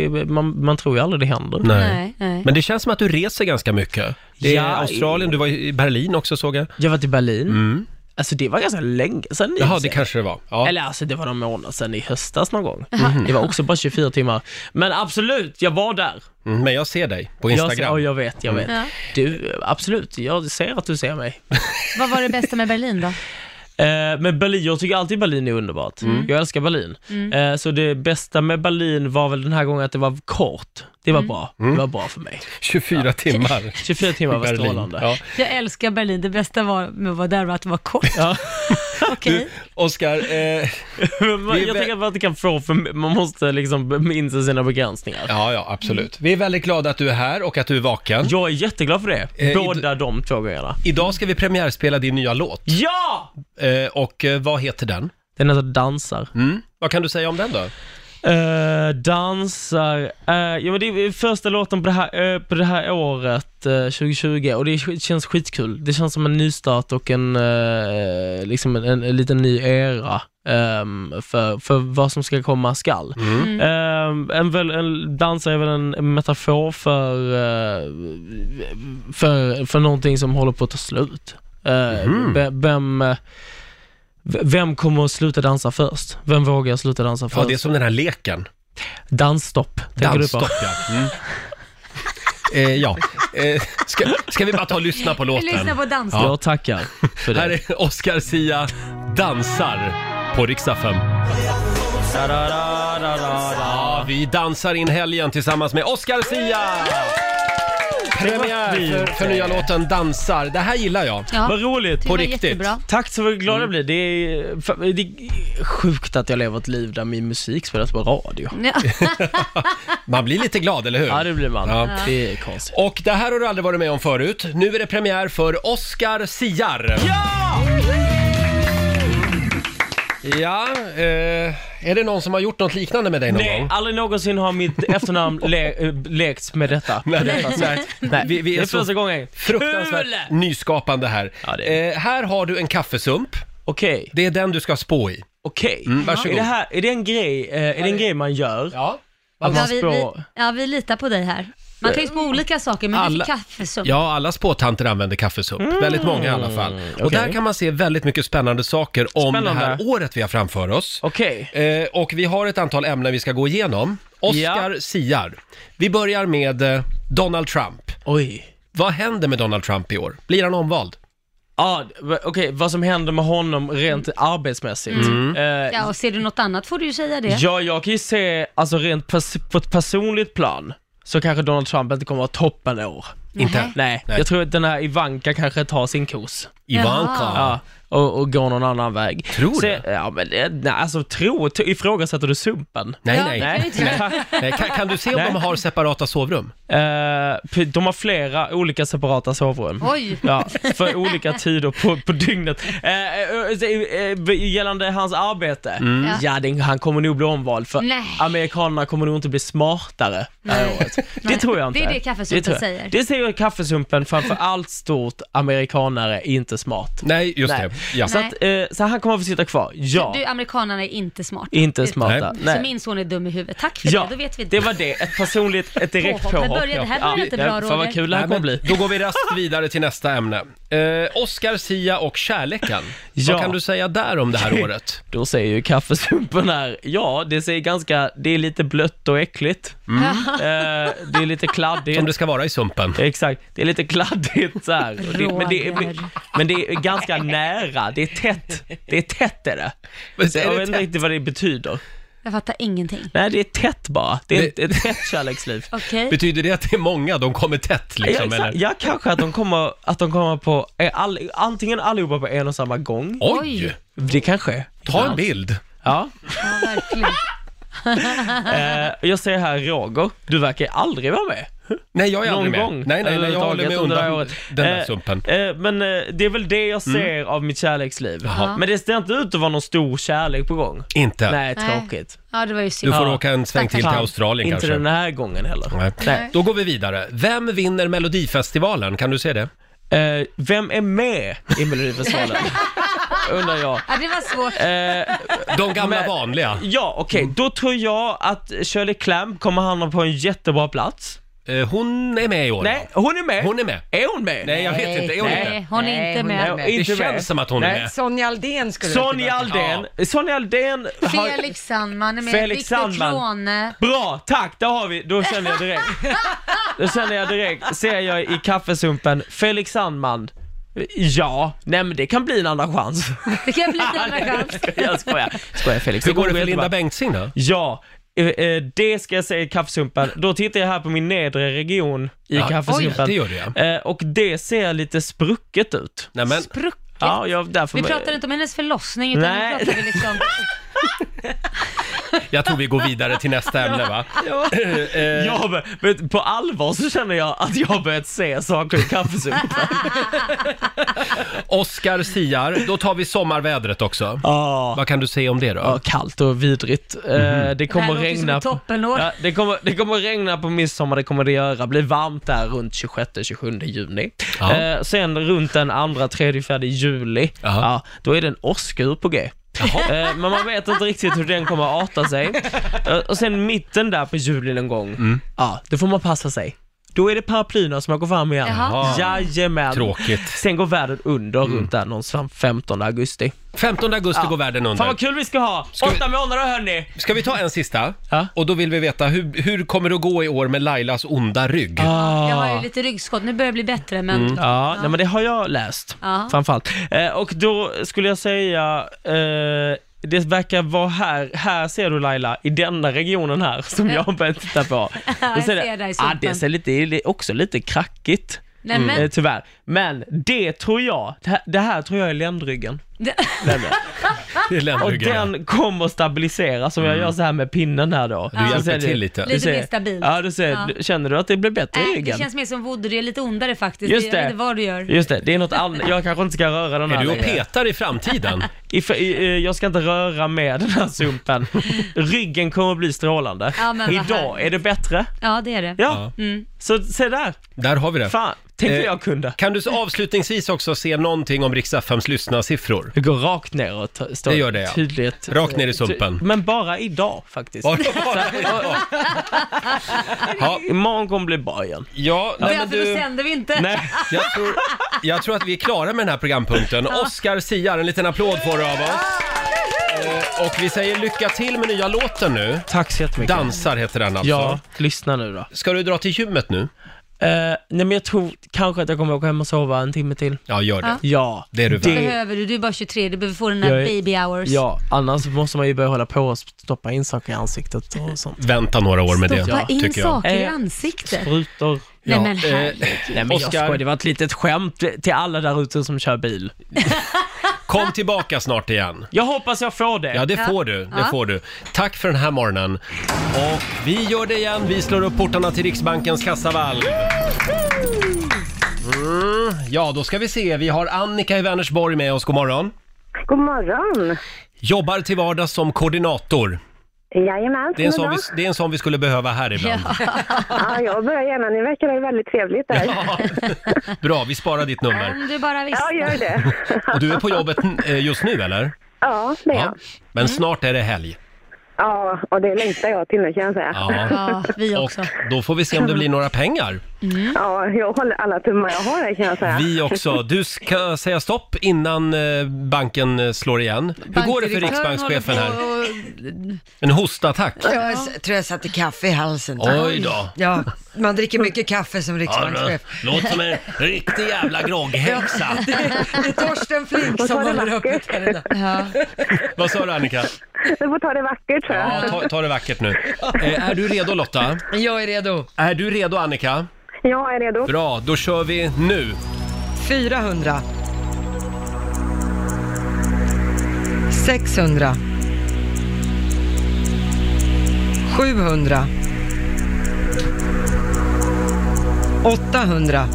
Speaker 9: eh, man, man tror ju aldrig det händer.
Speaker 1: Nej.
Speaker 11: nej.
Speaker 1: Men det känns som att du reser ganska mycket. Det är
Speaker 9: Ja,
Speaker 1: Australien, du var i Berlin också såg jag.
Speaker 9: Jag var i Berlin. Alltså det var ganska länge sedan. i och
Speaker 1: Mm. Jaha,
Speaker 9: för
Speaker 1: det
Speaker 9: sig.
Speaker 1: kanske det var. Ja.
Speaker 9: Eller alltså det var någon månad sedan i höstas någon gång.
Speaker 1: Mhm.
Speaker 9: Det var också bara 24 timmar. Men absolut, jag var där.
Speaker 1: Mm, men jag ser dig på Instagram.
Speaker 9: Jag, ser- ja, jag vet, jag vet.
Speaker 11: Mm. Ja.
Speaker 9: Du, absolut, jag ser att du ser mig.
Speaker 11: Vad var det bästa med Berlin då?
Speaker 9: Eh, men Berlin, jag tycker alltid Berlin är underbart.
Speaker 11: Mm.
Speaker 9: Jag älskar Berlin.
Speaker 11: Mm.
Speaker 9: Eh, så det bästa med Berlin var väl den här gången att det var kort. Det var
Speaker 11: Mm.
Speaker 9: bra.
Speaker 1: Mm.
Speaker 9: Det var bra för mig.
Speaker 1: 24 timmar.
Speaker 9: 24 timmar var
Speaker 1: Berlin,
Speaker 9: strålande.
Speaker 1: ja.
Speaker 11: Jag älskar Berlin. Det bästa var med att vara där var att det var kort.
Speaker 9: Ja.
Speaker 11: Okej.
Speaker 1: Oscar, eh,
Speaker 9: Men
Speaker 1: vä-
Speaker 9: jag tycker att man inte kan få för man måste liksom inse sina begränsningar.
Speaker 1: ja, ja, absolut. Vi är väldigt glada att du är här och att du är vaken.
Speaker 9: Jag är jätteglad för det,
Speaker 1: Eh, i-
Speaker 9: båda de två gångerna.
Speaker 1: Idag ska vi premiärspela din nya låt.
Speaker 9: Ja!
Speaker 1: Eh, och eh, vad heter den?
Speaker 9: Den heter Dansar.
Speaker 1: Mm. Vad kan du säga om den då?
Speaker 9: Eh, dansar, eh, ja men det är första låten på det här, eh, på det här året, eh, 2020, och det är- känns skitkul. Det känns som en nystart och en, eh, liksom en, en, en liten ny era ehm, för, för vad som ska komma skall.
Speaker 5: Mm.
Speaker 9: Ehm, en, väl, en, dansar är väl en metafor för, eh, för, för någonting som håller på att ta slut. Eh,
Speaker 1: Mm.
Speaker 5: Mhm.
Speaker 9: ve- vem, eh, v- vem kommer att sluta dansa först? Vem vågar sluta dansa först?
Speaker 1: Ja, det är som den här leken.
Speaker 9: Dansstopp, tänker du på?
Speaker 1: Dansstopp, ja. Mm. Eh, ja. Eh, ska, ska vi bara ta och lyssna på låten?
Speaker 11: Lyssna på dansen.
Speaker 1: Ja.
Speaker 9: Jag tackar för det.
Speaker 1: Här är Oscar Sia, Dansar, på riksdag fem. Ja, vi dansar in helgen tillsammans med Oscar Sia! Premiär för, för nya låten Dansar. Det här gillar jag.
Speaker 11: Ja.
Speaker 9: Vad roligt!
Speaker 11: Det
Speaker 1: På
Speaker 11: var
Speaker 1: riktigt.
Speaker 11: jättebra.
Speaker 9: Tack så
Speaker 8: Mm.
Speaker 9: glad jag blir. Det är, fan, det är sjukt att jag lever ett liv där min musik spelas på radio.
Speaker 11: Ja.
Speaker 1: Man blir lite glad, eller hur?
Speaker 9: Ja, det blir man.
Speaker 1: Ja.
Speaker 9: Det är konstigt.
Speaker 1: Och det här har du aldrig varit med om förut. Nu är det premiär för Oscar Siar. Ja, eh, är det någon som har gjort något liknande med dig någon
Speaker 9: Nej,
Speaker 1: gång?
Speaker 9: aldrig någonsin har mitt efternamn le- eh, lekts med detta.
Speaker 1: Nej,
Speaker 9: Det är
Speaker 1: nej.
Speaker 9: Nej,
Speaker 1: Vi- vi är
Speaker 9: det är
Speaker 1: så-
Speaker 9: första gången.
Speaker 1: Fruktansvärt
Speaker 9: Kul!
Speaker 1: nyskapande här. Eh, här har du en kaffesump.
Speaker 9: Okej.
Speaker 1: Det är den du ska spå i.
Speaker 9: Okej.
Speaker 1: Mm, varsågod.
Speaker 9: är, det här- är det en grej, eh, är det en grej man gör?
Speaker 1: Ja.
Speaker 9: Att
Speaker 11: Ja,
Speaker 9: man
Speaker 11: vi, vi,
Speaker 9: spår...
Speaker 11: ja, vi litar på dig här. Man kan ju på olika saker, men
Speaker 1: Alla-
Speaker 11: vi fick kaffesump.
Speaker 1: Ja, alla spåtanter använder kaffesump. Väldigt många i alla fall. Och
Speaker 9: Mm. okej.
Speaker 1: där kan man se väldigt mycket spännande saker om
Speaker 9: Spännande.
Speaker 1: det här året vi har framför oss.
Speaker 9: Okej.
Speaker 1: Eh, och vi har ett antal ämnen vi ska gå igenom. Oscar siar. Vi börjar med eh, Donald Trump.
Speaker 9: Oj.
Speaker 1: Vad händer med Donald Trump i år? Blir han omvald?
Speaker 9: Ja, v- okej, vad som händer med honom rent arbetsmässigt.
Speaker 1: Mm.
Speaker 9: Eh,
Speaker 11: Ja, och ser du något annat får du ju säga det.
Speaker 9: Ja, jag kan ju se, alltså rent pers- på ett personligt plan, så kanske Donald Trump inte kommer att vara toppen i år.
Speaker 1: Inte?
Speaker 9: Nej,
Speaker 1: Nej.
Speaker 9: jag tror att den här Ivanka kanske tar sin kos.
Speaker 1: Ivanka?
Speaker 9: Ja, och, och går någon annan väg.
Speaker 1: Tror du?
Speaker 9: Så, ja, men det- nej, alltså tro, t- ifrågasätter du sumpen?
Speaker 1: Nej,
Speaker 11: Ja,
Speaker 1: nej.
Speaker 11: det kan vi inte göra.
Speaker 1: nej. Kan, kan du se om
Speaker 9: Nej.
Speaker 1: de har separata sovrum?
Speaker 9: Eh, p- de har flera olika separata sovrum.
Speaker 11: Oj.
Speaker 9: Ja, för olika tider på, på dygnet. Eh, eh, eh, eh, gällande hans arbete,
Speaker 1: Mm.
Speaker 11: Ja.
Speaker 9: Mm. ja, det, han kommer nog bli omvald för
Speaker 11: Nej.
Speaker 9: amerikanerna kommer nog inte bli smartare det här året. Det tror jag inte.
Speaker 11: Det är det kaffesumpen
Speaker 9: tror jag.
Speaker 11: säger.
Speaker 9: Det säger ju kaffesumpen framför allt stort, amerikanare, är inte smart.
Speaker 1: Nej, just det. Ja.
Speaker 9: Så, att, eh, så han kommer få sitta kvar, ja.
Speaker 2: Du, amerikanarna är inte smarta.
Speaker 9: Inte smarta,
Speaker 2: Så
Speaker 9: nej.
Speaker 2: min son är dum i huvudet. Tack för
Speaker 9: Ja,
Speaker 2: det, då vet vi det.
Speaker 9: det var det. Ett personligt, ett direkt
Speaker 2: Påhopp.
Speaker 9: påhopp.
Speaker 2: Men började- det här började inte bra, Roger.
Speaker 9: det här kommer
Speaker 1: Nej, men Då går vi raskt vidare till nästa ämne. Eh, Oscar Sia och kärleken. Vad kan du säga där om det här året?
Speaker 9: Då säger ju kaffesumpen här, ja det ser ganska, det är lite blött och äckligt.
Speaker 2: Mm.
Speaker 9: Eh, det är lite kladdigt.
Speaker 1: Som det ska vara i sumpen.
Speaker 9: Exakt, det är lite kladdigt så här. Och Det, men, det är, men det är ganska nära, det är tätt. Det är tätt är det. Så
Speaker 2: är
Speaker 9: jag
Speaker 2: det
Speaker 9: vet inte
Speaker 2: tätt?
Speaker 9: riktigt vad det betyder.
Speaker 2: Jag fattar ingenting.
Speaker 9: Nej, det är tätt bara. Det är ett, ett tätt kärleksliv.
Speaker 2: Okej.
Speaker 1: Betyder det att det är många, de kommer tätt
Speaker 9: ja,
Speaker 1: liksom?
Speaker 9: exakt.
Speaker 1: eller?
Speaker 9: ja, kanske att de kommer, att de kommer på, eh, all, antingen allihopa på en och samma gång.
Speaker 1: Oj!
Speaker 9: Det kanske är.
Speaker 1: Ta en bild.
Speaker 9: Ja.
Speaker 2: Ja, verkligen.
Speaker 9: Eh, jag säger här, Roger, du verkar aldrig vara med.
Speaker 1: Nej, jag är
Speaker 9: Någon
Speaker 1: aldrig med.
Speaker 9: gång.
Speaker 1: Nej, nej, nej, jag
Speaker 9: överhuvudtaget
Speaker 1: håller mig
Speaker 9: under det här
Speaker 1: undan
Speaker 9: året.
Speaker 1: den där
Speaker 9: Eh,
Speaker 1: sumpen.
Speaker 9: eh, men eh, det är väl det jag
Speaker 1: Mm.
Speaker 9: ser av mitt kärleksliv.
Speaker 1: Jaha.
Speaker 9: Men det ser inte ut att vara någon stor kärlek på gång.
Speaker 1: Inte?
Speaker 9: Nej,
Speaker 2: Nej.
Speaker 9: tråkigt.
Speaker 2: Ja, det var ju
Speaker 1: Du
Speaker 2: synd.
Speaker 1: får
Speaker 2: Ja.
Speaker 1: åka en sväng till till
Speaker 9: Fan,
Speaker 1: Australien
Speaker 9: inte
Speaker 1: kanske.
Speaker 9: den här gången heller.
Speaker 1: Nej.
Speaker 9: Nej.
Speaker 1: Då går vi vidare. Vem vinner Melodifestivalen? Kan du se det?
Speaker 9: Eh, vem är med i Melodifestivalen? Undrar jag.
Speaker 2: Ja, det var svårt.
Speaker 1: De gamla vanliga.
Speaker 9: Ja, okej.
Speaker 1: Mm.
Speaker 9: Då tror jag att Shirley Clamp kommer hamna på en jättebra plats.
Speaker 1: Eh, hon är med i år.
Speaker 9: Nej, hon är med.
Speaker 1: Hon är med.
Speaker 9: Är hon med?
Speaker 1: Nej, jag vet inte. Är hon inte?
Speaker 2: hon är inte med.
Speaker 9: Nej, inte
Speaker 1: Det känns som att hon är med.
Speaker 3: Sonja Aldén skulle
Speaker 9: Sonja Aldén. Sonja Aldén har...
Speaker 2: Felix Sandman är med.
Speaker 9: Felix
Speaker 2: Viktor
Speaker 9: Sandman.
Speaker 2: Klone.
Speaker 9: Bra, tack! Där har vi, då känner jag direkt. Då känner jag direkt, ser jag i kaffesumpen, Felix Sandman. Ja, nej men det kan bli en andra chans.
Speaker 2: Det kan bli en andra chans.
Speaker 9: Jag skojar. Skojar Felix.
Speaker 1: Hur går det för
Speaker 9: jättebra.
Speaker 1: Linda Bengtzing då?
Speaker 9: Ja, eh, eh, det ska jag säga i kaffesumpen. Då tittar jag här på min nedre region i
Speaker 1: Ja,
Speaker 9: kaffesumpen.
Speaker 1: oj, det gör du,
Speaker 9: Eh, Och det ser lite sprucket ut.
Speaker 1: Nämen.
Speaker 2: Sprucket?
Speaker 9: Ja, jag, därför
Speaker 2: Vi pratar inte om hennes förlossning utan
Speaker 9: Nej.
Speaker 2: vi pratar liksom...
Speaker 1: Jag tror vi går vidare till nästa ämne va?
Speaker 9: Ja.
Speaker 1: Eh,
Speaker 9: Jag har bör- men på allvar så känner jag att jag har börjat se saker i kaffesumpen.
Speaker 1: Oscar Siar, då tar vi sommarvädret också. Vad kan du säga om det då?
Speaker 9: Ja, kallt och vidrigt. Eh,
Speaker 1: Mhm.
Speaker 9: Det kommer
Speaker 2: det här låter som
Speaker 9: regna.
Speaker 2: ett toppenår.
Speaker 9: Ja, det, kommer, det kommer regna på midsommar, det kommer det göra. Blir varmt där runt 26-27 juni.
Speaker 1: Ja.
Speaker 9: Eh, sen runt den 2, 3, 4 juli, ja, då är det en åskur på G. Eh, men man vet inte riktigt hur den kommer arta sig. Eh, och sen mitten där på juli någon gång, ja, då får man passa sig. Då är det paraplyerna som åker fram igen.
Speaker 1: Jaha.
Speaker 9: Jajamän.
Speaker 1: Tråkigt.
Speaker 9: Sen går världen under runt där någonstans 15 augusti.
Speaker 1: 15 augusti går världen under.
Speaker 9: Fan vad kul vi ska ha! Åtta månader hörni!
Speaker 1: Ska vi ta en sista? Och då vill vi veta, hur, hur kommer det att gå i år med Lailas onda rygg?
Speaker 2: Jag har ju lite ryggskott, nu börjar det bli bättre men...
Speaker 9: Ah. Mm. Ja, Nej, men det har jag läst.
Speaker 2: Ja.
Speaker 9: Framförallt. Eh, och då skulle jag säga, eh, det verkar vara här, här ser du Laila, i denna regionen här som jag har börjat titta på. Då
Speaker 2: jag ser dig i
Speaker 9: ah,
Speaker 2: sumpen.
Speaker 9: det ser lite, det är också lite krackigt.
Speaker 2: Nej, men-
Speaker 9: Eh, tyvärr. Men det tror jag, det här, det här tror jag är ländryggen. Länder.
Speaker 1: Det är
Speaker 9: Och
Speaker 1: ländryggen.
Speaker 9: den kommer att stabilisera som jag gör så här med pinnen här då.
Speaker 1: Du hjälper
Speaker 9: Så ser
Speaker 1: till
Speaker 9: du-
Speaker 1: lite.
Speaker 9: du
Speaker 2: Lite
Speaker 9: ser-
Speaker 2: mer stabilt.
Speaker 9: Ja, du ser,
Speaker 2: Ja.
Speaker 9: du- känner du att det blir bättre i
Speaker 2: Nej, det
Speaker 9: ryggen?
Speaker 2: känns mer som voodoo, det är lite ondare faktiskt.
Speaker 9: Just
Speaker 2: Jag
Speaker 9: det.
Speaker 2: vet inte vad du gör.
Speaker 9: Just det, det är något annat. Jag kanske inte ska röra den
Speaker 1: Är
Speaker 9: här
Speaker 1: du och
Speaker 9: längre.
Speaker 1: petar i framtiden?
Speaker 9: I, för- i, eh, jag ska inte röra med den här sumpen. Ryggen kommer att bli strålande.
Speaker 2: Ja, men vad
Speaker 9: Idag
Speaker 2: härligt.
Speaker 9: är det bättre.
Speaker 2: Ja, det är det.
Speaker 9: Ja.
Speaker 2: Mm.
Speaker 9: Så se där.
Speaker 1: Där har vi det.
Speaker 9: Fan, tänk
Speaker 1: Eh,
Speaker 9: eh. jag kunde.
Speaker 1: Kan du så avslutningsvis också se någonting om Rix FMs lyssnarsiffror?
Speaker 9: Det går rakt neråt. Står
Speaker 1: Det gör det, ja.
Speaker 9: Tydligt. eh,
Speaker 1: Rakt ner i sumpen.
Speaker 9: Ty- Men bara idag faktiskt.
Speaker 1: Bara- bara
Speaker 9: Så- Ja, imorgon kommer bli bra igen.
Speaker 1: Ja,
Speaker 2: Nej,
Speaker 1: nej, men
Speaker 2: För då
Speaker 1: du,
Speaker 2: sänder vi inte.
Speaker 9: Nej.
Speaker 1: jag, tror, jag tror att vi är klara med den här programpunkten. Oscar Siar, en liten applåd får du av oss. Eh, Och vi säger lycka till med nya låten nu.
Speaker 9: Tack så jättemycket.
Speaker 1: Dansar heter den alltså.
Speaker 9: Ja, lyssna nu då.
Speaker 1: Ska du dra till gymmet nu?
Speaker 9: Eh, nej men jag tror kanske att jag kommer åka hem och sova en timme till.
Speaker 1: Ja, gör det.
Speaker 9: Ja,
Speaker 1: Det är du
Speaker 9: det-
Speaker 1: värd.
Speaker 2: Behöver du, du är bara 23, du behöver få den där
Speaker 9: Jag är-
Speaker 2: baby hours.
Speaker 9: Ja, annars måste man ju börja hålla på och stoppa in saker i ansiktet och sånt.
Speaker 1: Vänta några år med
Speaker 2: Stoppa
Speaker 1: det,
Speaker 2: in
Speaker 1: tycker jag.
Speaker 2: saker i
Speaker 9: Eh,
Speaker 2: ansiktet.
Speaker 9: Sprutor.
Speaker 2: Nej men
Speaker 1: eh,
Speaker 2: herregud.
Speaker 9: Nej men jag
Speaker 1: Oscar.
Speaker 9: skojar, det var ett litet skämt till alla där ute som kör bil.
Speaker 1: Kom tillbaka snart igen.
Speaker 9: Jag hoppas jag får det.
Speaker 1: Ja, det
Speaker 2: Ja.
Speaker 1: får du. Det
Speaker 2: Ja.
Speaker 1: får du. Tack för den här morgonen. Och vi gör det igen. Vi slår upp portarna till Riksbankens kassavalv. Mm. Ja, då ska vi se. Vi har Annika i Vänersborg med oss. God morgon.
Speaker 12: God morgon.
Speaker 1: Jobbar till vardags som koordinator.
Speaker 12: Jajamän,
Speaker 1: Det är, en sån
Speaker 12: goddag.
Speaker 1: vi, det är en sån vi skulle behöva här ibland.
Speaker 12: Ja, jag börjar gärna. Ni verkar ha väldigt trevligt där.
Speaker 1: Bra, vi sparar ditt nummer.
Speaker 12: Om du bara visste. Ja, gör det.
Speaker 1: Och du är på jobbet eh, just nu eller?
Speaker 12: Ja, det är jag.
Speaker 1: Men
Speaker 3: Mm.
Speaker 1: snart är det helg.
Speaker 12: Ja, och det längtar jag till nu kan jag säga.
Speaker 1: Och då får vi se om det blir några pengar.
Speaker 12: Ja, jag håller alla tummar jag har här kan jag säga.
Speaker 1: Vi också. Du ska säga stopp innan eh, banken eh, slår igen. Hur går det för riksbankschefen här? En hostattack.
Speaker 3: Jag s- tror jag satte kaffe i halsen.
Speaker 1: Oj då.
Speaker 3: Ja, man dricker mycket kaffe som riksbankschef.
Speaker 1: Ja, låter som en riktig jävla grogghäxa.
Speaker 3: Ja, det, det är Torsten Flink
Speaker 12: Vad
Speaker 3: som
Speaker 12: sa du,
Speaker 3: håller uppe
Speaker 12: vackert?
Speaker 3: den.
Speaker 1: Vad sa du Annika?
Speaker 12: Du får ta det vackert tror jag.
Speaker 1: Ja, ta, ta det vackert nu. Eh, är du redo Lotta?
Speaker 3: Jag är redo.
Speaker 1: Är du redo Annika?
Speaker 12: Jag är redo.
Speaker 1: Bra, då kör vi nu.
Speaker 3: 400. 600. 700. 800.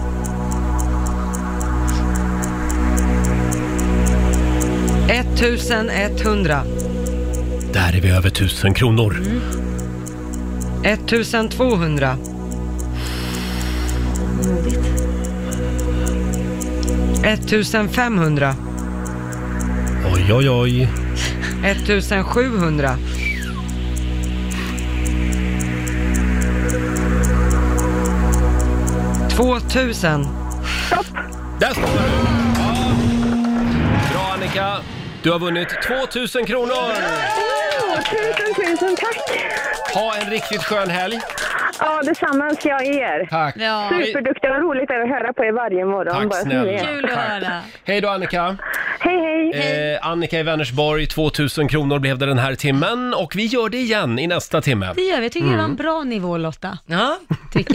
Speaker 3: 1100.
Speaker 1: Där är vi över tusen kronor.
Speaker 3: 1200.
Speaker 11: Modigt.
Speaker 3: 1500.
Speaker 1: Oj, oj, oj.
Speaker 3: 1700. 2000.
Speaker 1: Där står du! Ja. Bra Annika, du har vunnit 2000 kronor!
Speaker 12: Tusen, tusen tack!
Speaker 1: Ha en riktigt skön helg!
Speaker 12: Ja, detsamma önskar jag er.
Speaker 1: Tack. Ja.
Speaker 12: Superduktiga och roligt är att höra på er varje morgon.
Speaker 1: Tack
Speaker 12: bara som
Speaker 1: snälla.
Speaker 12: ni är.
Speaker 1: Kul att Tack. höra. Hej då Annika!
Speaker 12: Hej, hej!
Speaker 1: Eh, Annika i Vänersborg, 2000 kronor blev det den här timmen och vi gör det igen i nästa timme.
Speaker 2: Det gör vi. Jag tycker det var en
Speaker 1: Mm.
Speaker 2: bra nivå Lotta.
Speaker 3: Ja.
Speaker 2: Tycker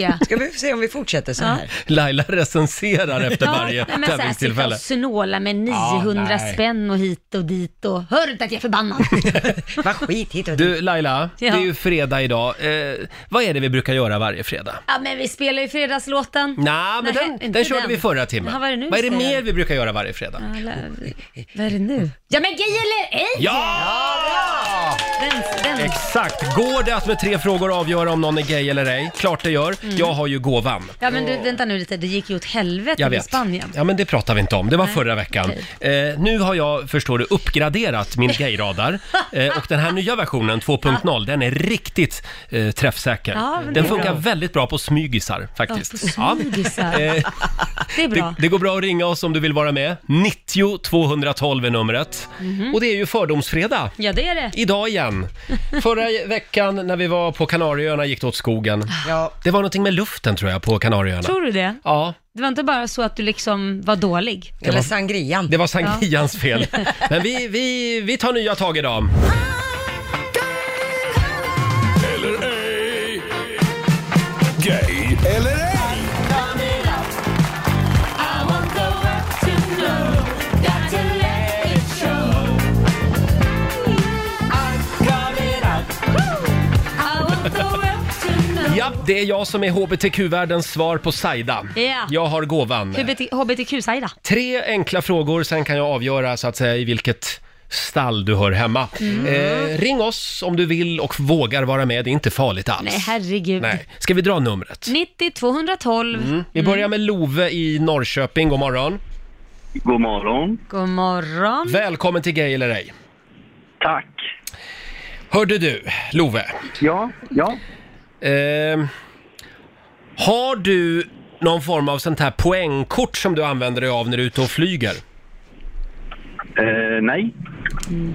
Speaker 2: jag.
Speaker 3: Ska vi se om vi fortsätter så här?
Speaker 1: Laila recenserar efter varje
Speaker 2: nej, men så här,
Speaker 1: tävlingstillfälle.
Speaker 2: Sitta och snåla med 900
Speaker 1: nej.
Speaker 2: spänn och hit och dit och hör du inte att jag är förbannad?
Speaker 3: Vad skit hit och
Speaker 1: Du Laila,
Speaker 2: Ja.
Speaker 1: det är ju fredag idag. Eh, vad är det vi brukar göra varje fredag?
Speaker 2: ja men vi spelar ju fredagslåten.
Speaker 1: Nah, men
Speaker 2: Nej,
Speaker 1: den, den,
Speaker 2: inte
Speaker 1: körde vi förra timmen.
Speaker 2: Ja, vad är det nu
Speaker 1: vad är det
Speaker 2: vi säger?
Speaker 1: mer vi brukar göra varje fredag?
Speaker 2: Ja, la- Vad är det nu? Ja men gay eller ej!
Speaker 1: Ja!
Speaker 2: Den, den.
Speaker 1: Exakt! Går det att med tre frågor avgöra om någon är gay eller ej? Klart det gör.
Speaker 2: Mm.
Speaker 1: Jag har ju gåvan.
Speaker 2: Ja men du, vänta nu lite, det gick ju åt helvete
Speaker 1: Jag
Speaker 2: i
Speaker 1: vet.
Speaker 2: Spanien.
Speaker 1: Ja, men det pratar vi inte om. Det var
Speaker 2: Nej,
Speaker 1: förra veckan.
Speaker 2: okej.
Speaker 1: Eh, nu har jag, förstår du, uppgraderat min gayradar. Eh, och den här nya versionen, 2.0, den är riktigt eh, träffsäker.
Speaker 2: Ja, men det
Speaker 1: den
Speaker 2: är
Speaker 1: funkar
Speaker 2: bra.
Speaker 1: väldigt bra på smygisar, faktiskt.
Speaker 2: Ja, på snygghisar.
Speaker 1: Eh,
Speaker 2: Det
Speaker 1: Det,
Speaker 2: är bra.
Speaker 1: det går bra att ringa oss om du vill vara med. 90 212 är numret.
Speaker 2: Mhm.
Speaker 1: Och det är ju Fördomsfredag.
Speaker 2: Ja det är det.
Speaker 1: Idag igen. Förra veckan när vi var på Kanarieöarna gick det åt skogen.
Speaker 3: Ja.
Speaker 1: Det var någonting med luften tror jag på Kanarieöarna.
Speaker 2: Tror du det?
Speaker 1: Ja.
Speaker 2: Det var inte bara så att du liksom var dålig?
Speaker 1: Det var-
Speaker 3: sangrian.
Speaker 1: Det var sangrians fel. Men vi, vi, vi tar nya tag idag.
Speaker 4: Eller ej. Gay eller ej.
Speaker 1: Ja, det är jag som är HBTQ-världens svar på Saida.
Speaker 2: Ja.
Speaker 1: Jag har gåvan.
Speaker 2: HBT- HBTQ-sajda.
Speaker 1: Tre enkla frågor, sen kan jag avgöra så att säga i vilket stall du hör hemma.
Speaker 2: Mm.
Speaker 1: Eh, ring oss om du vill och vågar vara med, det är inte farligt alls.
Speaker 2: Nej Mm. herregud.
Speaker 1: Nej. Ska vi dra numret?
Speaker 2: 90 212.
Speaker 1: Mm. Vi börjar med Love i Norrköping, god morgon. God morgon.
Speaker 2: God morgon.
Speaker 1: Välkommen till Gay eller ej. Tack. Hörde du, Love? Ja, ja. har du någon form av sånt här poängkort som du använder dig av när du är ute och flyger?
Speaker 6: Eh,
Speaker 1: nej.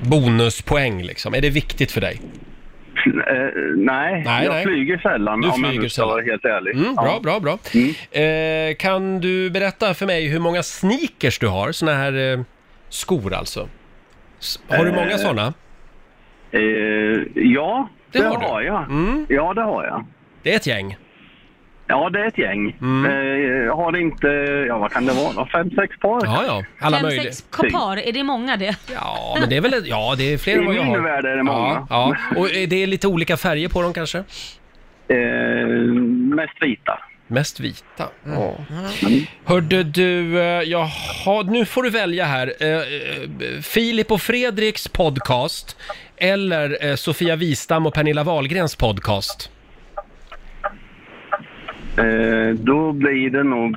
Speaker 1: Bonuspoäng liksom, är det viktigt för dig?
Speaker 6: Eh, nej,
Speaker 1: Nej,
Speaker 6: jag
Speaker 1: nej.
Speaker 6: flyger sällan
Speaker 1: Du
Speaker 6: om jag
Speaker 1: flyger
Speaker 6: nu ska
Speaker 1: sällan.
Speaker 6: vara helt ärlig.
Speaker 1: Mm, bra,
Speaker 6: Ja.
Speaker 1: bra, bra. Eh, kan du berätta för mig hur många sneakers du har? Såna här eh, skor alltså. S- Har du
Speaker 6: Eh,
Speaker 1: många såna?
Speaker 6: Eh, ja,
Speaker 1: Det
Speaker 6: det,
Speaker 1: har
Speaker 6: har,
Speaker 1: du. Mm.
Speaker 6: jag. Ja, det har jag.
Speaker 1: Det är ett gäng.
Speaker 6: Ja, det är ett gäng.
Speaker 1: Mm.
Speaker 6: Eh, jag har inte, ja vad kan det vara då? Fem, sex par?
Speaker 1: Ja, ja. Alla
Speaker 2: Fem,
Speaker 1: möjliga.
Speaker 2: sex kopar, är det många det?
Speaker 1: Ja, men det är väl, ett- ja det är fler än vad
Speaker 6: I
Speaker 1: jag
Speaker 6: min
Speaker 1: har.
Speaker 6: värld är det många.
Speaker 1: eh, Ja, ja. Och är det lite olika färger på dem kanske?
Speaker 6: Eh, mest vita.
Speaker 1: Mest vita. Ja.
Speaker 7: Mm.
Speaker 1: Hörde du, eh, jaha, nu får du välja här. Eh, eh, Filip och Fredriks podcast eller eh, Sofia Wistam och Pernilla Wahlgrens podcast?
Speaker 13: Eh, då blir det nog...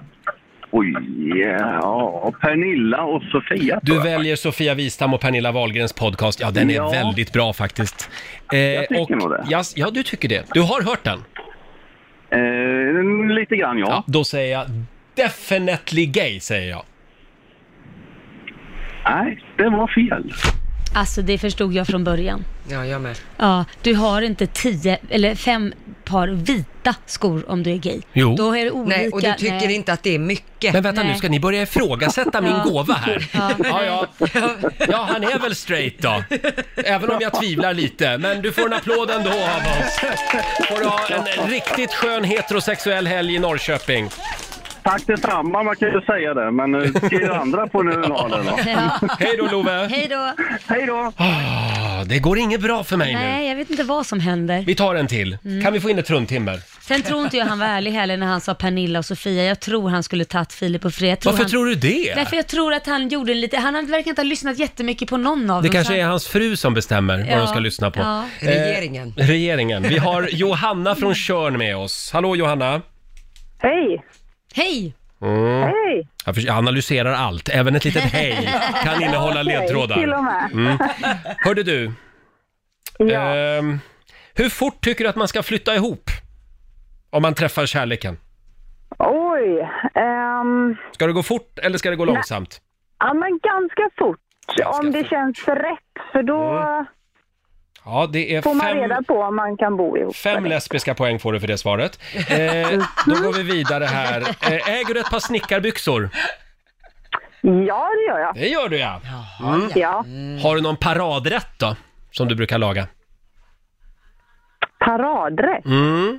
Speaker 13: Oj, ja. Pernilla och Sofia.
Speaker 1: Du väljer Sofia Wistam och Pernilla Wahlgrens podcast. Ja, den är
Speaker 13: Ja.
Speaker 1: väldigt bra faktiskt. Eh,
Speaker 13: Jag tycker
Speaker 1: och,
Speaker 13: nog det.
Speaker 1: Ja, s- ja, du tycker det. Du har hört den?
Speaker 6: eh,
Speaker 13: lite grann, ja.
Speaker 1: Då säger jag definitely gay, säger jag.
Speaker 13: Nej, det var fel.
Speaker 2: Alltså det förstod jag från början.
Speaker 3: Ja, jag med.
Speaker 2: Ja, du har inte tio eller fem par vita skor om du är gay.
Speaker 1: Jo.
Speaker 2: Då är det olika.
Speaker 3: Nej, och du tycker
Speaker 2: nej.
Speaker 3: inte att det är mycket.
Speaker 1: Men vänta nu, ska ni börja ifrågasätta min
Speaker 2: Ja.
Speaker 1: gåva här?
Speaker 2: Ja.
Speaker 1: Ja, ja. ja, han är väl straight då. Även om jag tvivlar lite. Men du får en applåd ändå av oss. Får du ha en riktigt skön heterosexuell helg i Norrköping.
Speaker 13: Tack detsamma, man kan ju säga det. Men eh, skriv andra på nu Arne, då.
Speaker 1: Hej då Love!
Speaker 2: Hej då.
Speaker 13: Hej då.
Speaker 1: Ah, det går inget bra för mig nu.
Speaker 2: Nej, jag vet inte vad som händer.
Speaker 1: Vi tar en till.
Speaker 2: Mm.
Speaker 1: Kan vi få in ett rundtimmer?
Speaker 2: Sen tror inte jag han var ärlig heller när han sa Pernilla och Sofia. Jag tror han skulle tagit Filip och Fredrik. Jag
Speaker 1: Varför
Speaker 2: han...
Speaker 1: tror du det?
Speaker 2: Därför jag tror att han gjorde en lite, han verkar inte ha lyssnat jättemycket på någon av
Speaker 1: Det
Speaker 2: dem.
Speaker 1: kanske
Speaker 2: så
Speaker 1: är hans fru som bestämmer
Speaker 2: Ja,
Speaker 1: vad de ska lyssna på.
Speaker 2: ja.
Speaker 1: Eh,
Speaker 2: Regeringen.
Speaker 1: regeringen. Vi har Johanna från Körn med oss. Hallå Johanna!
Speaker 12: Hej!
Speaker 2: Hej!
Speaker 1: Mm.
Speaker 12: Hej!
Speaker 1: Jag förs- jag analyserar allt, även ett litet hej kan innehålla
Speaker 12: Okej,
Speaker 1: ledtrådar.
Speaker 12: till och med.
Speaker 1: Mm. Hörde du? Ehm, hur fort tycker du att man ska flytta ihop? Om man träffar kärleken.
Speaker 12: Oj! ehm,
Speaker 1: Ska det gå fort eller ska det gå
Speaker 12: Nej.
Speaker 1: långsamt?
Speaker 12: ja, men ganska fort. om det känns rätt, för då
Speaker 1: Ja, det är
Speaker 12: får man reda
Speaker 1: fem,
Speaker 12: på om man kan bo ihop.
Speaker 1: fem lesbiska poäng får du för det svaret. Ehm, då går vi vidare här. Ehm, äger du ett par snickarbyxor?
Speaker 12: Ja, det gör jag.
Speaker 1: Det gör du ja. Mm.
Speaker 12: Ja.
Speaker 1: Har du någon paradrätt då, som du brukar laga?
Speaker 12: Paradrätt.
Speaker 1: Mm.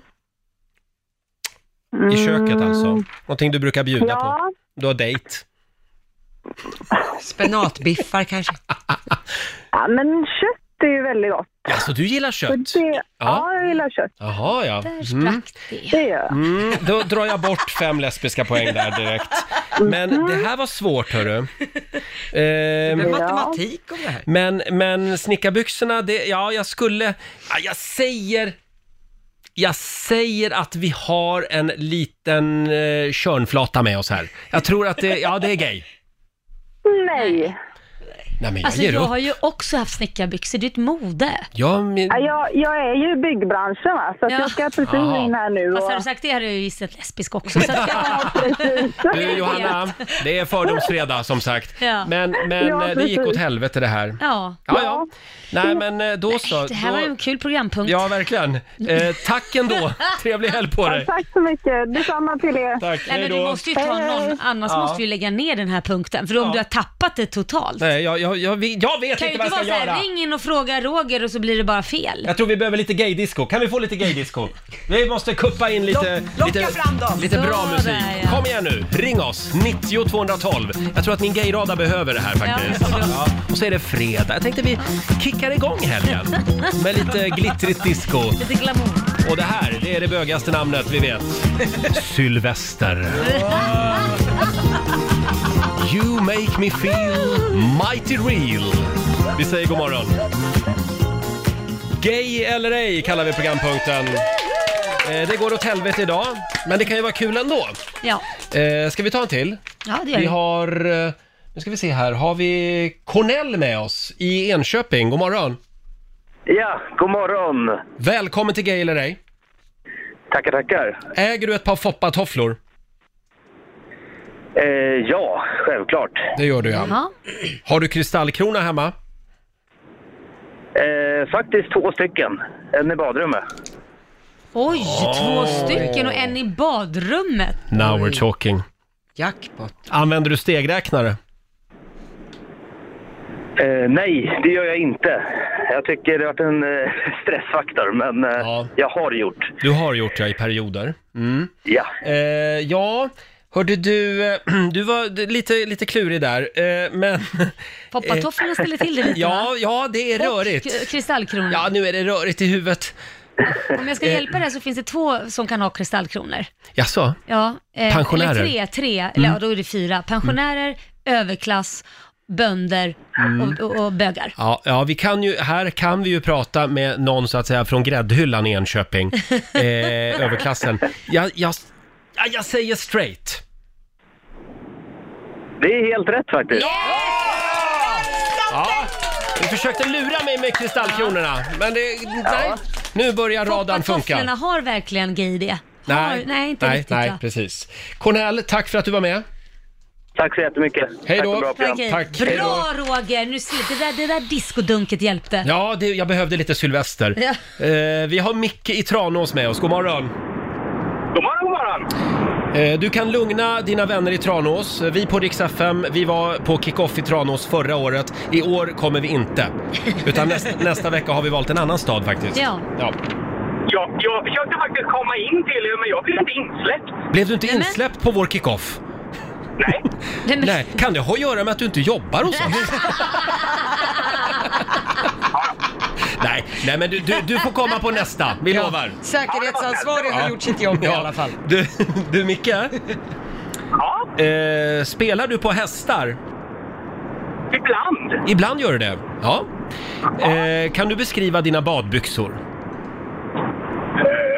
Speaker 1: I köket alltså. Någonting du brukar bjuda
Speaker 12: Ja.
Speaker 1: på. Du har dejt.
Speaker 3: Spenatbiffar kanske?
Speaker 12: Ja, men kött är ju väldigt gott.
Speaker 1: Alltså du gillar kött?
Speaker 12: Så Det, ja.
Speaker 1: Ja.
Speaker 12: jag gillar kött.
Speaker 1: Jaha ja. Mm.
Speaker 12: Det gör jag.
Speaker 1: Mm. Då drar jag bort fem lesbiska poäng där direkt. Men det här var svårt hörru. Ehm,
Speaker 7: är matematik
Speaker 3: om det här.
Speaker 1: men, men snickarbyxorna, det, ja jag skulle, ja, jag säger, jag säger att vi har en liten eh, körnflata med oss här. Jag tror att det, ja det är gay.
Speaker 12: Nej.
Speaker 1: Nej men jag
Speaker 2: Alltså
Speaker 1: ger
Speaker 2: jag
Speaker 1: upp.
Speaker 2: har ju också haft snickarbyxor, det är ett mode.
Speaker 1: Ja, men,
Speaker 12: Ja, jag, jag är ju i byggbranschen va, så att jag ska precis
Speaker 1: Jaha.
Speaker 12: in här nu.
Speaker 2: Fast
Speaker 12: Och...
Speaker 2: har du sagt det hade jag ju gissat lesbisk också. Så att jag...
Speaker 1: du Johanna, det är fördomsfredag som sagt.
Speaker 2: Ja.
Speaker 1: Men, men
Speaker 2: Ja,
Speaker 1: eh, det gick
Speaker 2: precis.
Speaker 1: åt helvete det här.
Speaker 2: Ja.
Speaker 1: Ja, ja. Nej, men eh, då så.
Speaker 2: Det här
Speaker 1: då...
Speaker 2: var ju en kul programpunkt.
Speaker 1: Ja, verkligen. Eh, tack ändå. Trevlig helg på dig.
Speaker 12: Tack så mycket, detsamma till er.
Speaker 1: Tack,
Speaker 2: Nej, men du måste ju ta någon, annars
Speaker 1: Ja.
Speaker 2: måste vi lägga ner den här punkten. För om du har tappat det totalt.
Speaker 1: Nej, jag, jag, jag, vet- jag vet
Speaker 2: kan ju
Speaker 1: inte
Speaker 2: inte
Speaker 1: vad
Speaker 2: vara
Speaker 1: jag ska göra.
Speaker 2: såhär, ring in och fråga Roger och så blir det bara fel.
Speaker 1: Jag tror vi behöver lite gaydisco. Kan vi få lite gaydisco? Vi måste kuppa in lite,
Speaker 7: Lock- locka
Speaker 1: lite,
Speaker 7: fram dem.
Speaker 1: lite bra
Speaker 7: Så
Speaker 1: musik.
Speaker 7: där, ja.
Speaker 1: Kom igen nu, ring oss! 90 212. Jag tror att min gayrada behöver det här faktiskt.
Speaker 7: Ja, jag tror det.
Speaker 1: Ja. Och så är det fredag. Jag tänkte vi kickar igång helgen med lite glittrigt disco.
Speaker 2: Lite glamour.
Speaker 1: Och det här, det är det bögigaste namnet vi vet. Sylvester. You make me feel mighty real. Vi säger god morgon. Gay eller ej kallar vi programpunkten. Eh, Det går åt helvete idag, men det kan ju vara kul ändå.
Speaker 2: Ja,
Speaker 1: Eh, Ska vi ta en till?
Speaker 2: ja det gör
Speaker 1: Vi
Speaker 2: vi.
Speaker 1: har, eh, nu ska vi se här, har vi Cornell med oss i Enköping? God morgon!
Speaker 14: Ja, god morgon.
Speaker 1: Välkommen till Gay eller ej.
Speaker 14: Tackar, tackar.
Speaker 1: Äger du ett par foppatofflor?
Speaker 14: Eh, ja, självklart.
Speaker 1: Det gör du ja. Har du kristallkrona hemma?
Speaker 14: Eh, faktiskt två stycken. En i badrummet.
Speaker 2: Oj, två
Speaker 1: Åh.
Speaker 2: stycken och en i badrummet.
Speaker 1: Now we're talking.
Speaker 3: Jackpot.
Speaker 1: Använder du stegräknare?
Speaker 14: Eh, nej, det gör jag inte. Jag tycker det har varit en eh, stressfaktor, men eh, jag har gjort.
Speaker 1: Du har gjort det i perioder. Mm.
Speaker 14: Ja.
Speaker 1: Eh, ja, hörde du, eh, du var d- lite, lite klurig där, eh, men...
Speaker 2: Foppatofflorna ställer till det lite,
Speaker 1: Ja,
Speaker 2: va?
Speaker 1: ja, det är
Speaker 2: Och eh,
Speaker 1: rörigt.
Speaker 2: k- kristallkronor.
Speaker 1: Ja, nu är det rörigt i huvudet.
Speaker 2: Om jag ska
Speaker 1: Eh.
Speaker 2: hjälpa dig här så finns det två som kan ha kristallkronor.
Speaker 1: Jaså?
Speaker 2: Ja, eh,
Speaker 1: Pensionärer.
Speaker 2: Eller tre, tre eller
Speaker 1: Mm.
Speaker 2: ja, då är det fyra. Pensionärer, överklass, bönder
Speaker 1: Mm.
Speaker 2: och, och, och bögar.
Speaker 1: Ja, ja vi kan ju, här kan vi ju prata med någon så att säga från gräddhyllan i Enköping, eh, överklassen. Jag, jag, ja, jag säger straight.
Speaker 12: Det är helt rätt faktiskt.
Speaker 1: Ja, du försökte lura mig med kristallkronorna, men det, nej. Nu börjar radan
Speaker 2: Tofflorna
Speaker 1: funka.
Speaker 2: har verkligen gay idé. Har, nej, nej, inte
Speaker 1: nej,
Speaker 2: riktigt
Speaker 1: nej,
Speaker 2: va?
Speaker 1: precis. Cornell, tack för att du var med.
Speaker 12: Tack så jättemycket.
Speaker 1: Hej då.
Speaker 2: Okej.
Speaker 1: Tack. Hej då.
Speaker 2: Bra Roger, nu ser, det, där, det där diskodunket hjälpte.
Speaker 1: Ja, det, jag behövde lite Sylvester.
Speaker 2: Ja.
Speaker 1: Eh, vi har Micke i Tranås med oss. God morgon!
Speaker 12: God morgon, god morgon!
Speaker 1: Eh, du kan lugna dina vänner i Tranås. Vi på Rix FM, vi var på kick-off i Tranås förra året. I år kommer vi inte. Utan nästa, nästa vecka har vi valt en annan stad faktiskt.
Speaker 2: Ja.
Speaker 1: ja.
Speaker 12: Jag, jag försökte faktiskt komma in till er, men jag blev inte insläppt.
Speaker 1: Blev du inte insläppt på vår kick-off? Nej. Nej. Kan det ha att göra med att du inte jobbar hos oss? Nej, nej men du, du, du får komma på nästa. Vi lovar.
Speaker 3: Säkerhetsansvarig har
Speaker 1: Ja.
Speaker 3: gjort sitt jobb i
Speaker 1: Ja.
Speaker 3: alla fall.
Speaker 1: Du, du Micke? Ja? Eh, spelar du på hästar? Ibland. Ibland gör du det? Ja. Eh, kan du beskriva dina badbyxor?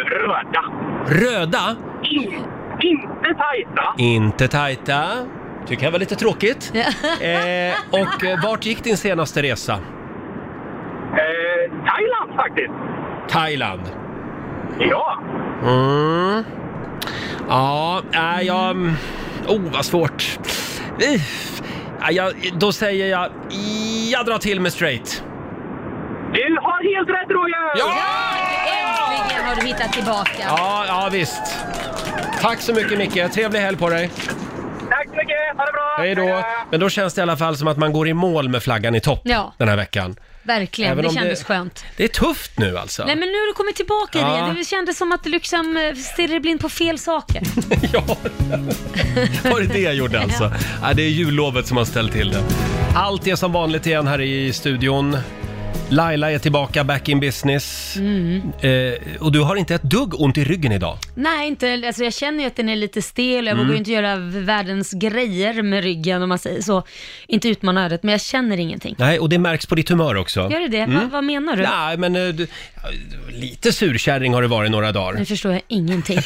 Speaker 12: Röda.
Speaker 1: Röda?
Speaker 12: In, inte tajta.
Speaker 1: Inte tajta. Tycker jag var lite tråkigt. Eh, och eh, vart gick din senaste resa?
Speaker 12: Eh, Thailand faktiskt.
Speaker 1: Thailand.
Speaker 12: Ja.
Speaker 1: Mm. Ja, nej jag... Oh, vad svårt. Eh, nej, jag, då säger jag... Jag drar till med straight.
Speaker 12: Du har helt rätt Roger!
Speaker 2: Äntligen har du hittat tillbaka.
Speaker 1: Ja, ja visst. Tack så mycket Micke, trevlig helg på dig.
Speaker 12: Tack så mycket, ha det bra!
Speaker 1: Hej då. Men då känns det i alla fall som att man går i mål med flaggan i topp
Speaker 2: Ja.
Speaker 1: den här veckan.
Speaker 2: Verkligen,
Speaker 1: Även
Speaker 2: det
Speaker 1: om det-
Speaker 2: kändes skönt.
Speaker 1: Det är tufft nu alltså.
Speaker 2: Nej men nu har du kommit tillbaka i
Speaker 1: Ja.
Speaker 2: det. Det kändes som att du liksom eh, stirrade blind på fel saker.
Speaker 1: Var det det jag gjorde alltså? ja. det är jullovet som har ställt till det. Allt är som vanligt igen här i studion. Laila är tillbaka, back in business.
Speaker 2: Mm.
Speaker 1: Eh, och du har inte ett dugg ont i ryggen idag.
Speaker 2: Nej, inte, alltså jag känner ju att den är lite stel och jag
Speaker 1: Mm.
Speaker 2: vågar ju inte göra världens grejer med ryggen om man säger så. Inte utmana ödet, men jag känner ingenting.
Speaker 1: Nej, och det märks på ditt humör också.
Speaker 2: Gör det det? Va,
Speaker 1: Mm.
Speaker 2: vad menar du?
Speaker 1: Nej, men eh, du, lite surkärring har det varit några dagar.
Speaker 2: Nu förstår jag ingenting.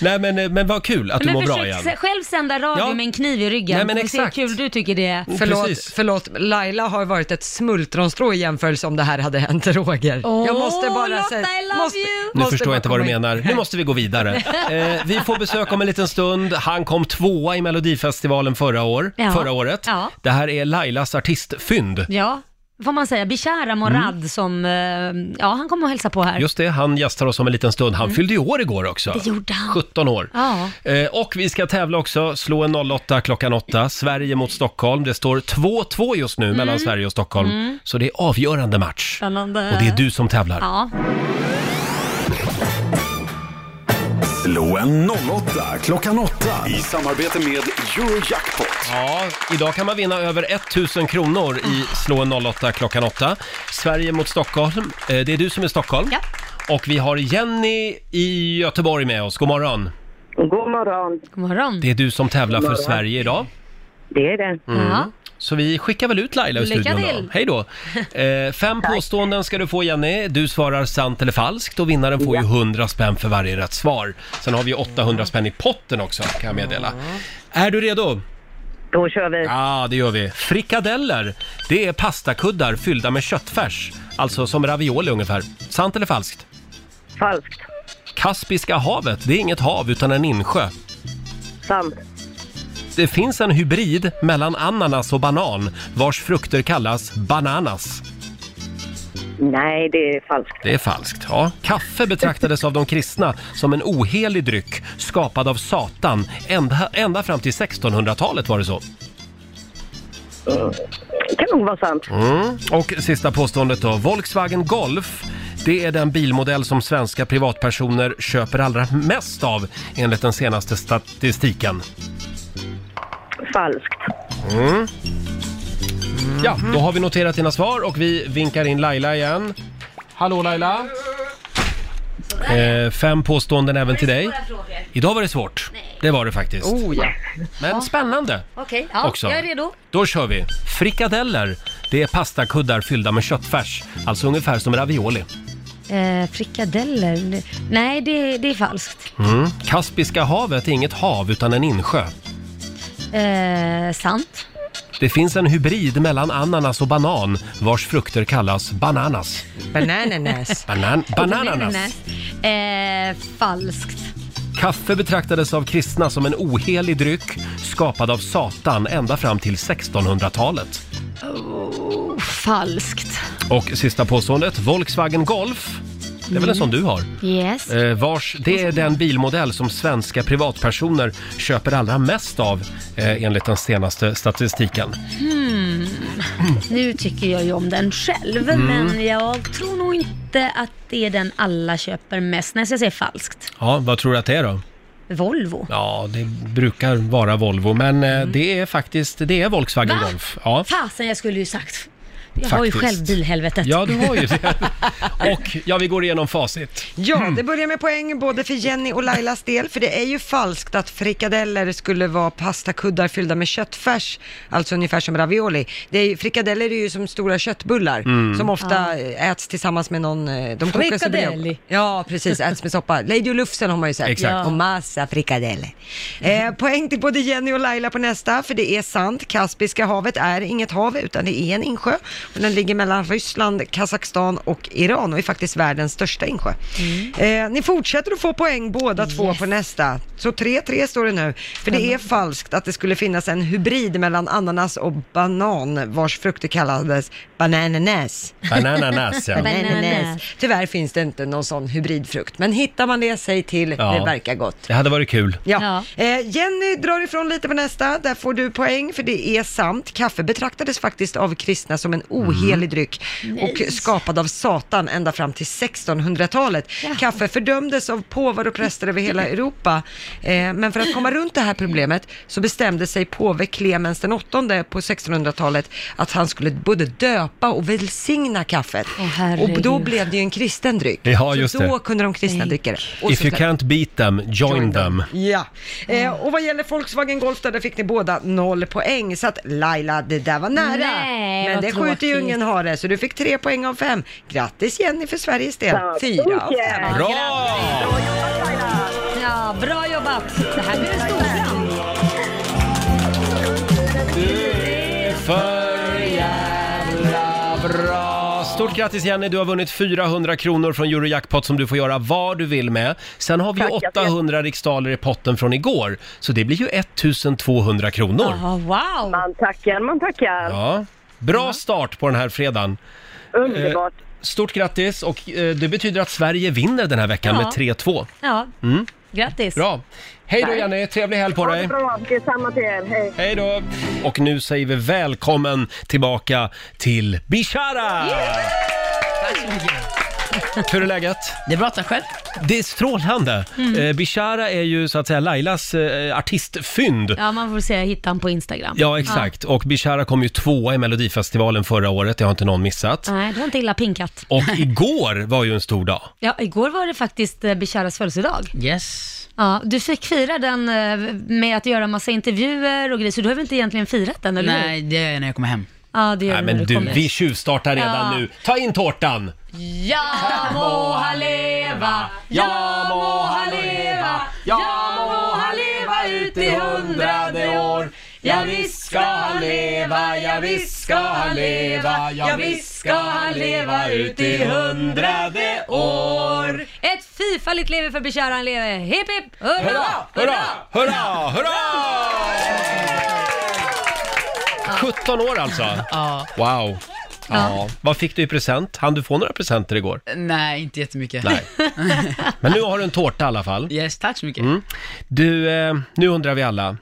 Speaker 1: Nej, men, eh, men vad kul att du
Speaker 2: men
Speaker 1: mår
Speaker 2: försök
Speaker 1: bra igen.
Speaker 2: se- själv sända radio
Speaker 1: Ja.
Speaker 2: med en kniv i ryggen.
Speaker 1: Nej, men
Speaker 2: Får vi se hur
Speaker 1: exakt. Mm.
Speaker 2: kul du tycker det är.
Speaker 3: Förlåt, förlåt, Laila har varit ett smultronstrå i jämförelse om det här hade hänt Roger. jag måste bara säga... måste,
Speaker 1: Nu
Speaker 3: måste
Speaker 1: förstår
Speaker 3: bara
Speaker 1: jag inte vad du
Speaker 3: komma in.
Speaker 1: menar. Nu måste vi gå vidare. Eh, vi får besök om en liten stund. Han kom tvåa i Melodifestivalen förra, år,
Speaker 2: Ja.
Speaker 1: förra året.
Speaker 2: Ja.
Speaker 1: Det här är Lailas artistfynd.
Speaker 2: Ja, får man säga. Bishara Morad som, eh, ja han kommer och hälsa på här.
Speaker 1: Mm. Just det, han gästar oss om en liten stund. Han
Speaker 2: Mm.
Speaker 1: fyllde ju år igår också.
Speaker 2: Det gjorde han.
Speaker 1: 17 år.
Speaker 2: Ja.
Speaker 1: Eh, och vi ska tävla också, slå en 08 klockan 8. Sverige mot Stockholm. Det står 2-2 just nu mellan
Speaker 2: Mm.
Speaker 1: Sverige och Stockholm.
Speaker 2: Mm.
Speaker 1: Så det är avgörande match.
Speaker 2: Spännande.
Speaker 1: Och det är du som tävlar.
Speaker 2: Ja.
Speaker 13: Slå en 08 klockan 8 i samarbete med Eurojackpot.
Speaker 1: Ja, idag kan man vinna över 1000 kronor i Slå en 08 klockan 8. Sverige mot Stockholm. Eh, Det är du som är Stockholm. Och vi har Jenny i Göteborg med oss. God morgon.
Speaker 15: God morgon.
Speaker 2: God morgon.
Speaker 1: Det är du som tävlar
Speaker 15: God
Speaker 1: för
Speaker 15: morgon.
Speaker 1: Sverige idag.
Speaker 15: Det är det.
Speaker 1: Mm. Så vi skickar väl ut Laila ur
Speaker 15: Lycka
Speaker 1: studion då.
Speaker 15: till.
Speaker 1: Hej då! Eh, fem påståenden ska du få Jenny. Du svarar sant eller falskt och vinnaren får ju 100 spänn för varje rätt svar. Sen har vi 800 spänn i potten också kan jag meddela. Är du redo?
Speaker 15: Då kör vi.
Speaker 1: Ja, det gör vi. Frikadeller, det är pastakuddar fyllda med köttfärs. Alltså som ravioli ungefär. Sant eller falskt?
Speaker 15: Falskt.
Speaker 1: Kaspiska havet, det är inget hav utan en insjö.
Speaker 15: Sant.
Speaker 1: Det finns en hybrid mellan ananas och banan vars frukter kallas bananas.
Speaker 15: Nej, det är falskt.
Speaker 1: Det är falskt. Ja. Kaffe betraktades av de kristna som en ohelig dryck skapad av Satan. Ända, ända fram till 1600-talet var det så.
Speaker 15: Det kan nog vara sant.
Speaker 1: Mm. Och sista påståendet då. Volkswagen Golf. Det är den bilmodell som svenska privatpersoner köper allra mest av enligt den senaste statistiken.
Speaker 15: Falskt.
Speaker 1: Mm. Ja, då har vi noterat dina svar och vi vinkar in Laila igen.
Speaker 16: Hallå Laila.
Speaker 1: Eh, fem påståenden även till dig. Idag var det svårt. Det var det faktiskt.
Speaker 2: Oh, ja.
Speaker 1: Men spännande.
Speaker 2: Okej, ja,
Speaker 1: Också.
Speaker 2: jag är redo.
Speaker 1: Då kör vi! Frikadeller, det är pastakuddar fyllda med köttfärs. Alltså ungefär som ravioli.
Speaker 2: Eh, frikadeller? Nej, det, det är falskt.
Speaker 1: Mm. Kaspiska havet är inget hav utan en insjö.
Speaker 2: Eh, sant.
Speaker 1: Det finns en hybrid mellan ananas och banan vars frukter kallas bananas.
Speaker 2: Bananas.
Speaker 1: Banan bananas.
Speaker 2: Eh, falskt.
Speaker 1: Kaffe betraktades av kristna som en ohelig dryck skapad av Satan ända fram till 1600-talet.
Speaker 2: Oh, falskt.
Speaker 1: Och sista påståendet, Volkswagen Golf. Det är väl en sån du har?
Speaker 2: Yes.
Speaker 1: Eh, vars, det är den bilmodell som svenska privatpersoner köper allra mest av eh, enligt den senaste statistiken.
Speaker 2: Hmm. Nu tycker jag ju om den själv,
Speaker 1: Mm.
Speaker 2: men jag tror nog inte att det är den alla köper mest. Nej, så jag säger falskt.
Speaker 1: Ja, vad tror du att det är då?
Speaker 2: Volvo.
Speaker 1: Ja, det brukar vara Volvo, men eh, det är faktiskt det är Volkswagen
Speaker 2: Va?
Speaker 1: Golf. Ja.
Speaker 2: Fasen, jag skulle ju sagt. Jag har ju
Speaker 1: Faktiskt.
Speaker 2: själv bilhelvetet.
Speaker 1: ja, du har ju det. Och ja, vi går igenom facit.
Speaker 3: Ja, det börjar med poäng både för Jenny och Lailas del, för det är ju falskt att frikadeller skulle vara pastakuddar fyllda med köttfärs, alltså ungefär som ravioli. Det är, ju- frikadeller är ju som stora köttbullar
Speaker 17: Mm.
Speaker 3: som ofta äts tillsammans med någon... eh, De kokas och blir-
Speaker 17: Frikadelli.
Speaker 3: Ja, precis, äts med soppa. Lady och Lufsen har man ju sett.
Speaker 17: Exakt. Ja.
Speaker 3: Och massa frikadeller. Eh, poäng till både Jenny och Laila på nästa, för det är sant. Kaspiska havet är inget hav, utan det är en insjö. Och den ligger mellan Ryssland, Kazakstan och Iran och är faktiskt världens största insjö. Eh, ni fortsätter att få poäng båda två på nästa. Så 3-3 står det nu. För det är falskt att det skulle finnas en hybrid mellan ananas och banan, vars frukter kallades bananas.
Speaker 1: Bananas, ja.
Speaker 3: Bananas. Tyvärr finns det inte någon sån hybridfrukt, men hittar man det, säg till.
Speaker 1: Ja.
Speaker 3: Det verkar gott.
Speaker 1: Det hade varit kul.
Speaker 3: Ja. Eh, Jenny drar ifrån lite på nästa. Där får du poäng, för det är sant. Kaffe betraktades faktiskt av kristna som en ohelig
Speaker 17: Mm.
Speaker 3: dryck
Speaker 17: Nej.
Speaker 3: och skapad av Satan ända fram till 1600-talet. Kaffe fördömdes av påvar och präster över hela Europa. Eh, men för att komma runt det här problemet så bestämde sig påve Clemens den åttonde på 1600-talet att han skulle både döpa och välsigna kaffet. och då
Speaker 17: herregud.
Speaker 3: blev det ju en kristen dryck.
Speaker 1: Ja,
Speaker 3: så
Speaker 1: just
Speaker 3: då
Speaker 1: det.
Speaker 3: kunde de kristna dricka det. Och
Speaker 1: If
Speaker 3: så
Speaker 1: you
Speaker 3: släppte-
Speaker 1: can't beat them, join them.
Speaker 3: Ja, eh, och vad gäller Volkswagen Golf där, där fick ni båda noll poäng. Så att Laila, det där var nära.
Speaker 17: Nej,
Speaker 3: Men
Speaker 17: vad
Speaker 3: det skjuter ju
Speaker 17: tråkigt.
Speaker 3: ingen hare, så du fick tre poäng av fem. Grattis Jenny för Sveriges del.
Speaker 17: Tack så
Speaker 3: Fyra av
Speaker 17: mycket.
Speaker 3: fem.
Speaker 17: Bra!
Speaker 2: Ja, bra jobbat. Det här blir en stor
Speaker 1: För jävla bra! Stort grattis Jenny, du har vunnit 400 kronor från Eurojackpot som du får göra vad du vill med. Sen har vi ju
Speaker 2: Tack, jag vet.
Speaker 1: 800 riksdaler i potten från igår, så det blir ju 1200 kronor.
Speaker 2: Ja, wow.
Speaker 12: Man tackar, man tackar.
Speaker 1: Ja.
Speaker 2: Mm.
Speaker 1: Bra start på den här fredagen.
Speaker 12: Underbart.
Speaker 1: Eh, Stort grattis och eh, det betyder att Sverige vinner den här veckan
Speaker 2: Ja.
Speaker 1: med 3-2.
Speaker 2: Ja,
Speaker 1: Mm.
Speaker 2: grattis.
Speaker 1: Bra. Hej då
Speaker 12: Tack.
Speaker 1: Jenny, trevlig helg på dig.
Speaker 12: Bra, detsamma till er. Hej.
Speaker 1: Hej då! Och nu säger vi välkommen tillbaka till Bishara!
Speaker 18: Tack så mycket.
Speaker 1: Hur är läget?
Speaker 18: Det är bra, tack själv.
Speaker 1: Det är strålande.
Speaker 2: Mm.
Speaker 1: Eh, Bishara är ju så att säga Lailas eh, artistfynd. Ja.
Speaker 2: Ja, man får se. Jag hittade honom på Instagram.
Speaker 1: exakt. Och Bishara kom ju tvåa i Melodifestivalen förra året, det har inte någon missat.
Speaker 2: Ja. Nej, du har inte illa pinkat.
Speaker 1: Och igår var ju en stor dag.
Speaker 2: Ja, igår var det faktiskt eh, Bisharas födelsedag.
Speaker 18: Yes.
Speaker 2: Ja, du fick fira den eh, med att göra massa intervjuer och grejer, så du har väl inte egentligen firat den, eller
Speaker 18: Nej,
Speaker 2: hur?
Speaker 18: det är när jag kommer hem.
Speaker 2: Ja, det gör
Speaker 1: Nej
Speaker 2: när
Speaker 1: men du,
Speaker 2: kommer.
Speaker 1: vi tjuvstartar redan
Speaker 2: Ja.
Speaker 1: nu. Ta in tårtan!
Speaker 2: Ja må han leva, ja må han leva, ja må han leva ut i hundrade år. Ja visst ska han leva, ja visst ska han leva, ja visst ska han leva ut i hundrade år. Ett fyrfaldigt leve för Bishara han leve, hipp hipp hurra!
Speaker 1: Hurra! Hurra! Hurra! 17 år alltså?
Speaker 18: Ja.
Speaker 1: Wow. Ja.
Speaker 18: Ja.
Speaker 1: Vad fick du i present? Hann du få några presenter igår?
Speaker 18: Nej, inte jättemycket.
Speaker 1: Nej. Men nu har du en tårta i alla fall.
Speaker 18: Yes, tack så mycket.
Speaker 1: Mm. Du, eh, nu undrar vi alla,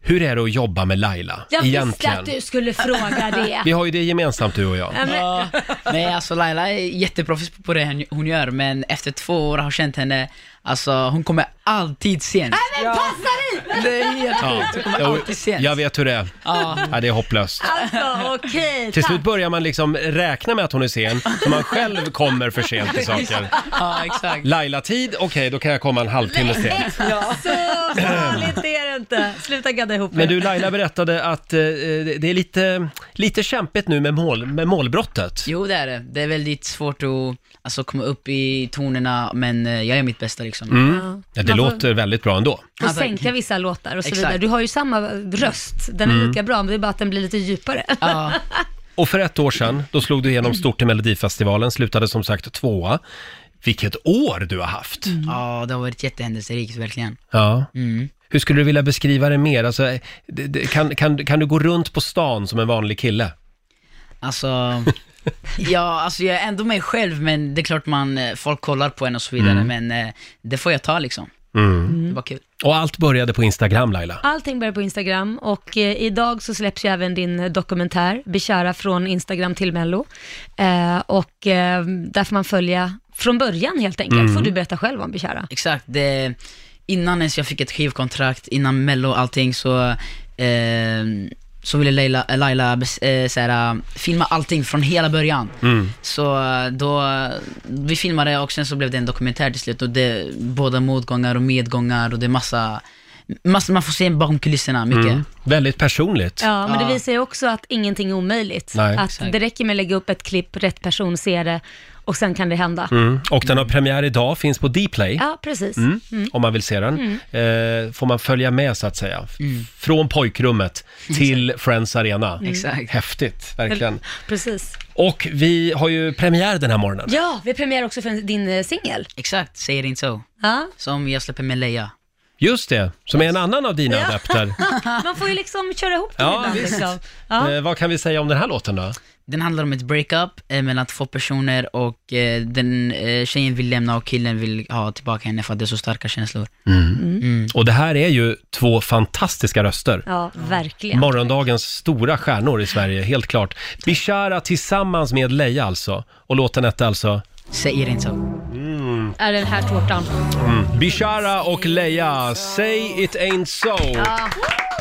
Speaker 1: hur är det att jobba med Laila
Speaker 2: Jag visste
Speaker 1: egentligen?
Speaker 2: att du skulle fråga det.
Speaker 1: Vi har ju det gemensamt du och jag.
Speaker 18: Ja, nej, alltså Laila är jätteproffs på det hon- hon gör, men efter två år har jag känt henne, alltså hon kommer alltid sent.
Speaker 1: Ah!
Speaker 2: Nej men passa dig!
Speaker 18: Det är helt sjukt, du kommer
Speaker 1: Jo,
Speaker 18: alltid sent.
Speaker 1: jag vet hur det är.
Speaker 18: Ja.
Speaker 1: Ja, det är hopplöst.
Speaker 2: Alltså okej,
Speaker 1: Till
Speaker 2: tack.
Speaker 1: slut börjar man liksom räkna med att hon är sen, så man själv kommer för sent till saker.
Speaker 18: Ja, exakt.
Speaker 1: Laila-tid, okej då kan jag komma en halvtimme sent.
Speaker 2: Ja. Så farligt är det inte. Sluta gadda ihop er.
Speaker 1: Men du Laila berättade att eh, det är lite, lite kämpigt nu med, mål, med målbrottet.
Speaker 18: Jo, det är det. Det är väldigt svårt att alltså, komma upp i tonerna, men eh, jag gör mitt bästa liksom.
Speaker 1: Mm. Ja, det
Speaker 2: Man får-
Speaker 1: låter väldigt bra ändå.
Speaker 2: Och sänka vissa låtar och så
Speaker 18: Exakt.
Speaker 2: vidare. Du har ju samma röst, den är
Speaker 1: Mm.
Speaker 2: lika bra, men det är bara att den blir lite djupare.
Speaker 1: Och för ett år sedan, då slog du igenom stort i Melodifestivalen, slutade som sagt tvåa. Vilket år du har haft!
Speaker 2: Mm.
Speaker 18: Ja, det har varit jättehändelserikt, verkligen. Mm.
Speaker 1: Ja. Hur skulle du vilja beskriva det mer? Alltså, det, det, kan, kan, kan du gå runt på stan som en vanlig kille?
Speaker 18: Alltså, ja, alltså jag är ändå mig själv, men det är klart man, eh, folk kollar på en och så vidare,
Speaker 1: Mm.
Speaker 18: men eh, det får jag ta liksom.
Speaker 1: Mm.
Speaker 18: Det var kul.
Speaker 1: Och allt började på Instagram Laila.
Speaker 2: Allting börjar på Instagram och eh, idag så släpps ju även din eh, dokumentär, Bishara från Instagram till Mello. Eh, och eh, där får man följa från början helt enkelt,
Speaker 18: Mm.
Speaker 2: får du berätta själv om Bishara.
Speaker 18: Exakt, det, innan ens jag fick ett skivkontrakt, innan mello och allting så, eh, så ville Laila, Laila bes- eh, såhär, filma allting från hela början.
Speaker 5: Mm.
Speaker 18: Så eh, då, vi filmade och sen så blev det en dokumentär till slut och det, båda motgångar och medgångar och det är massa, massa man får se bakom kulisserna mycket.
Speaker 1: Mm. Väldigt personligt.
Speaker 2: Ja, men det visar ju också att ingenting är omöjligt.
Speaker 1: Nej.
Speaker 2: Att
Speaker 1: Exakt.
Speaker 2: det räcker med att lägga upp ett klipp, rätt person ser det och sen kan det hända.
Speaker 1: Mm. Och den har premiär idag, finns på Dplay.
Speaker 2: Ja, precis.
Speaker 1: Mm.
Speaker 2: Mm.
Speaker 1: Om man vill se den. Eh, får man följa med så att säga. Från pojkrummet till Friends Arena.
Speaker 2: Mm. Exakt.
Speaker 1: Häftigt, verkligen.
Speaker 2: Precis.
Speaker 1: Och vi har ju premiär den här morgonen.
Speaker 2: Ja, vi har premiär också för din eh, singel.
Speaker 18: Exakt, säger inte så.
Speaker 2: Ja.
Speaker 18: Som jag släpper med Leia.
Speaker 1: Just det, som är en annan av dina adepter.
Speaker 2: Man får ju liksom köra ihop det
Speaker 1: Ja,
Speaker 2: ibland.
Speaker 1: visst.
Speaker 2: Liksom. Ja.
Speaker 1: Eh, vad kan vi säga om den här låten
Speaker 2: Mm.
Speaker 1: då?
Speaker 18: Den handlar om ett breakup eh, mellan två personer och eh, den eh, tjejen vill lämna och killen vill ha tillbaka henne för att det är så starka känslor.
Speaker 1: Och det här är ju två fantastiska röster.
Speaker 2: ja, verkligen.
Speaker 1: Morgondagens stora stjärnor i Sverige, helt klart. Bishara tillsammans med Leia alltså. Och låten hette alltså?
Speaker 18: Säger inte så.
Speaker 1: Mm.
Speaker 2: Är den här tårtan.
Speaker 1: Mm. Bishara och Leia, Say It Ain't So.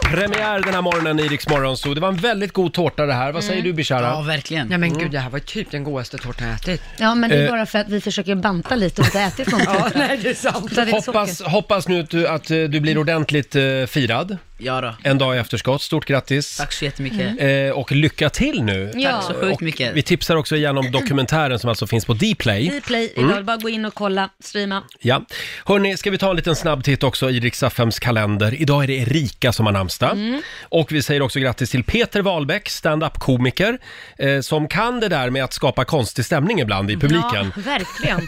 Speaker 1: Premiär den här morgonen i Rix Morgon, så det var en väldigt god tårta det här. Vad säger
Speaker 2: Mm.
Speaker 1: du Bishara?
Speaker 18: Ja, verkligen.
Speaker 3: Ja, men gud, det här var typ den godaste tårtan jag ätit.
Speaker 2: Ja, men det är
Speaker 1: Eh.
Speaker 2: bara för att vi försöker banta lite och inte ätit någonting.
Speaker 3: Ja, nej, det är sant.
Speaker 2: Så att det är
Speaker 1: Hoppas,
Speaker 2: socker.
Speaker 1: hoppas nu att du, att eh, du blir ordentligt eh, firad.
Speaker 18: Ja då.
Speaker 1: En dag i efterskott. Stort grattis.
Speaker 18: Tack så
Speaker 13: Mm.
Speaker 18: jättemycket.
Speaker 1: Eh, och lycka till nu.
Speaker 2: Ja. Tack så sjukt
Speaker 1: och
Speaker 18: mycket.
Speaker 1: Vi tipsar också igen om dokumentären som alltså finns på Dplay.
Speaker 2: Dplay
Speaker 1: Mm.
Speaker 2: idag, bara gå in och kolla, streama.
Speaker 1: Ja. Hörni, ska vi ta en liten snabb titt också i Riksaffems kalender. Idag är det Erika som har namnsdag.
Speaker 2: Mm.
Speaker 1: Och vi säger också grattis till Peter Wahlbeck, stand-up-komiker, eh, som kan det där med att skapa konstig stämning ibland i publiken.
Speaker 2: Ja, verkligen.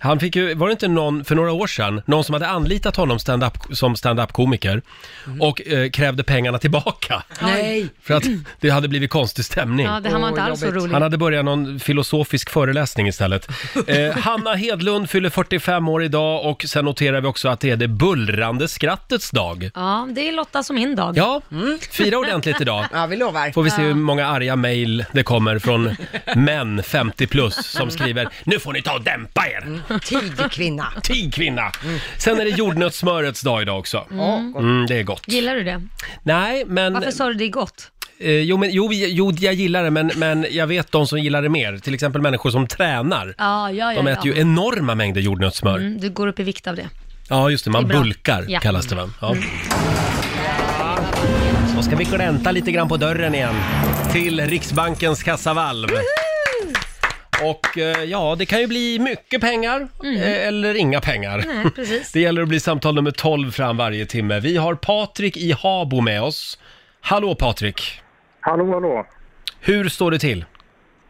Speaker 1: Han fick ju, var det inte någon för några år sedan, någon som hade anlitat honom stand-up, som stand-up-komiker
Speaker 2: Mm.
Speaker 1: och eh, krävde pengarna tillbaka.
Speaker 3: Nej.
Speaker 1: För att det hade blivit konstig stämning.
Speaker 2: Ja, det- han var inte Åh, alls så jobbigt. rolig.
Speaker 1: Han hade börjat någon filosofisk föreläsning istället. Eh, Hanna Hedlund fyller 45 år idag och sen noterar vi också att det är det bullrande skrattets dag.
Speaker 2: Ja, det är Lotta som min dag.
Speaker 1: Ja, fira ordentligt idag.
Speaker 3: Ja, vi lovar.
Speaker 1: Får vi se hur många arga mejl det kommer från män 50 plus som skriver “Nu får ni ta och dämpa er!”
Speaker 3: Tig kvinna.
Speaker 1: Tig kvinna! Sen är det jordnötssmörets dag idag också.
Speaker 2: Mm.
Speaker 1: Mm, det är gott.
Speaker 2: Gillar du det?
Speaker 1: Nej, men...
Speaker 2: Varför sa du det är gott?
Speaker 1: Eh, jo, men, jo, jo, jag gillar det, men, men jag vet de som gillar det mer. Till exempel människor som tränar.
Speaker 2: Ja, ja, ja.
Speaker 1: De
Speaker 2: Eh, ja.
Speaker 1: äter ju enorma mängder jordnötssmör.
Speaker 2: Mm, du går upp i vikt av det.
Speaker 1: Ja, just det. Man
Speaker 2: Det är bra.
Speaker 1: bulkar,
Speaker 2: Ja.
Speaker 1: kallas det va? Ja.
Speaker 2: Mm.
Speaker 1: Så ska vi glänta lite grann på dörren igen till Riksbankens kassavalv. Och eh, ja, det kan ju bli mycket pengar
Speaker 2: Mm.
Speaker 1: eh, eller inga pengar.
Speaker 5: Nej, precis.
Speaker 1: Det gäller att bli samtal nummer 12 fram varje timme. Vi har Patrik i Habo med oss. Hallå Patrik!
Speaker 19: Hallå, hallå!
Speaker 1: Hur står det till?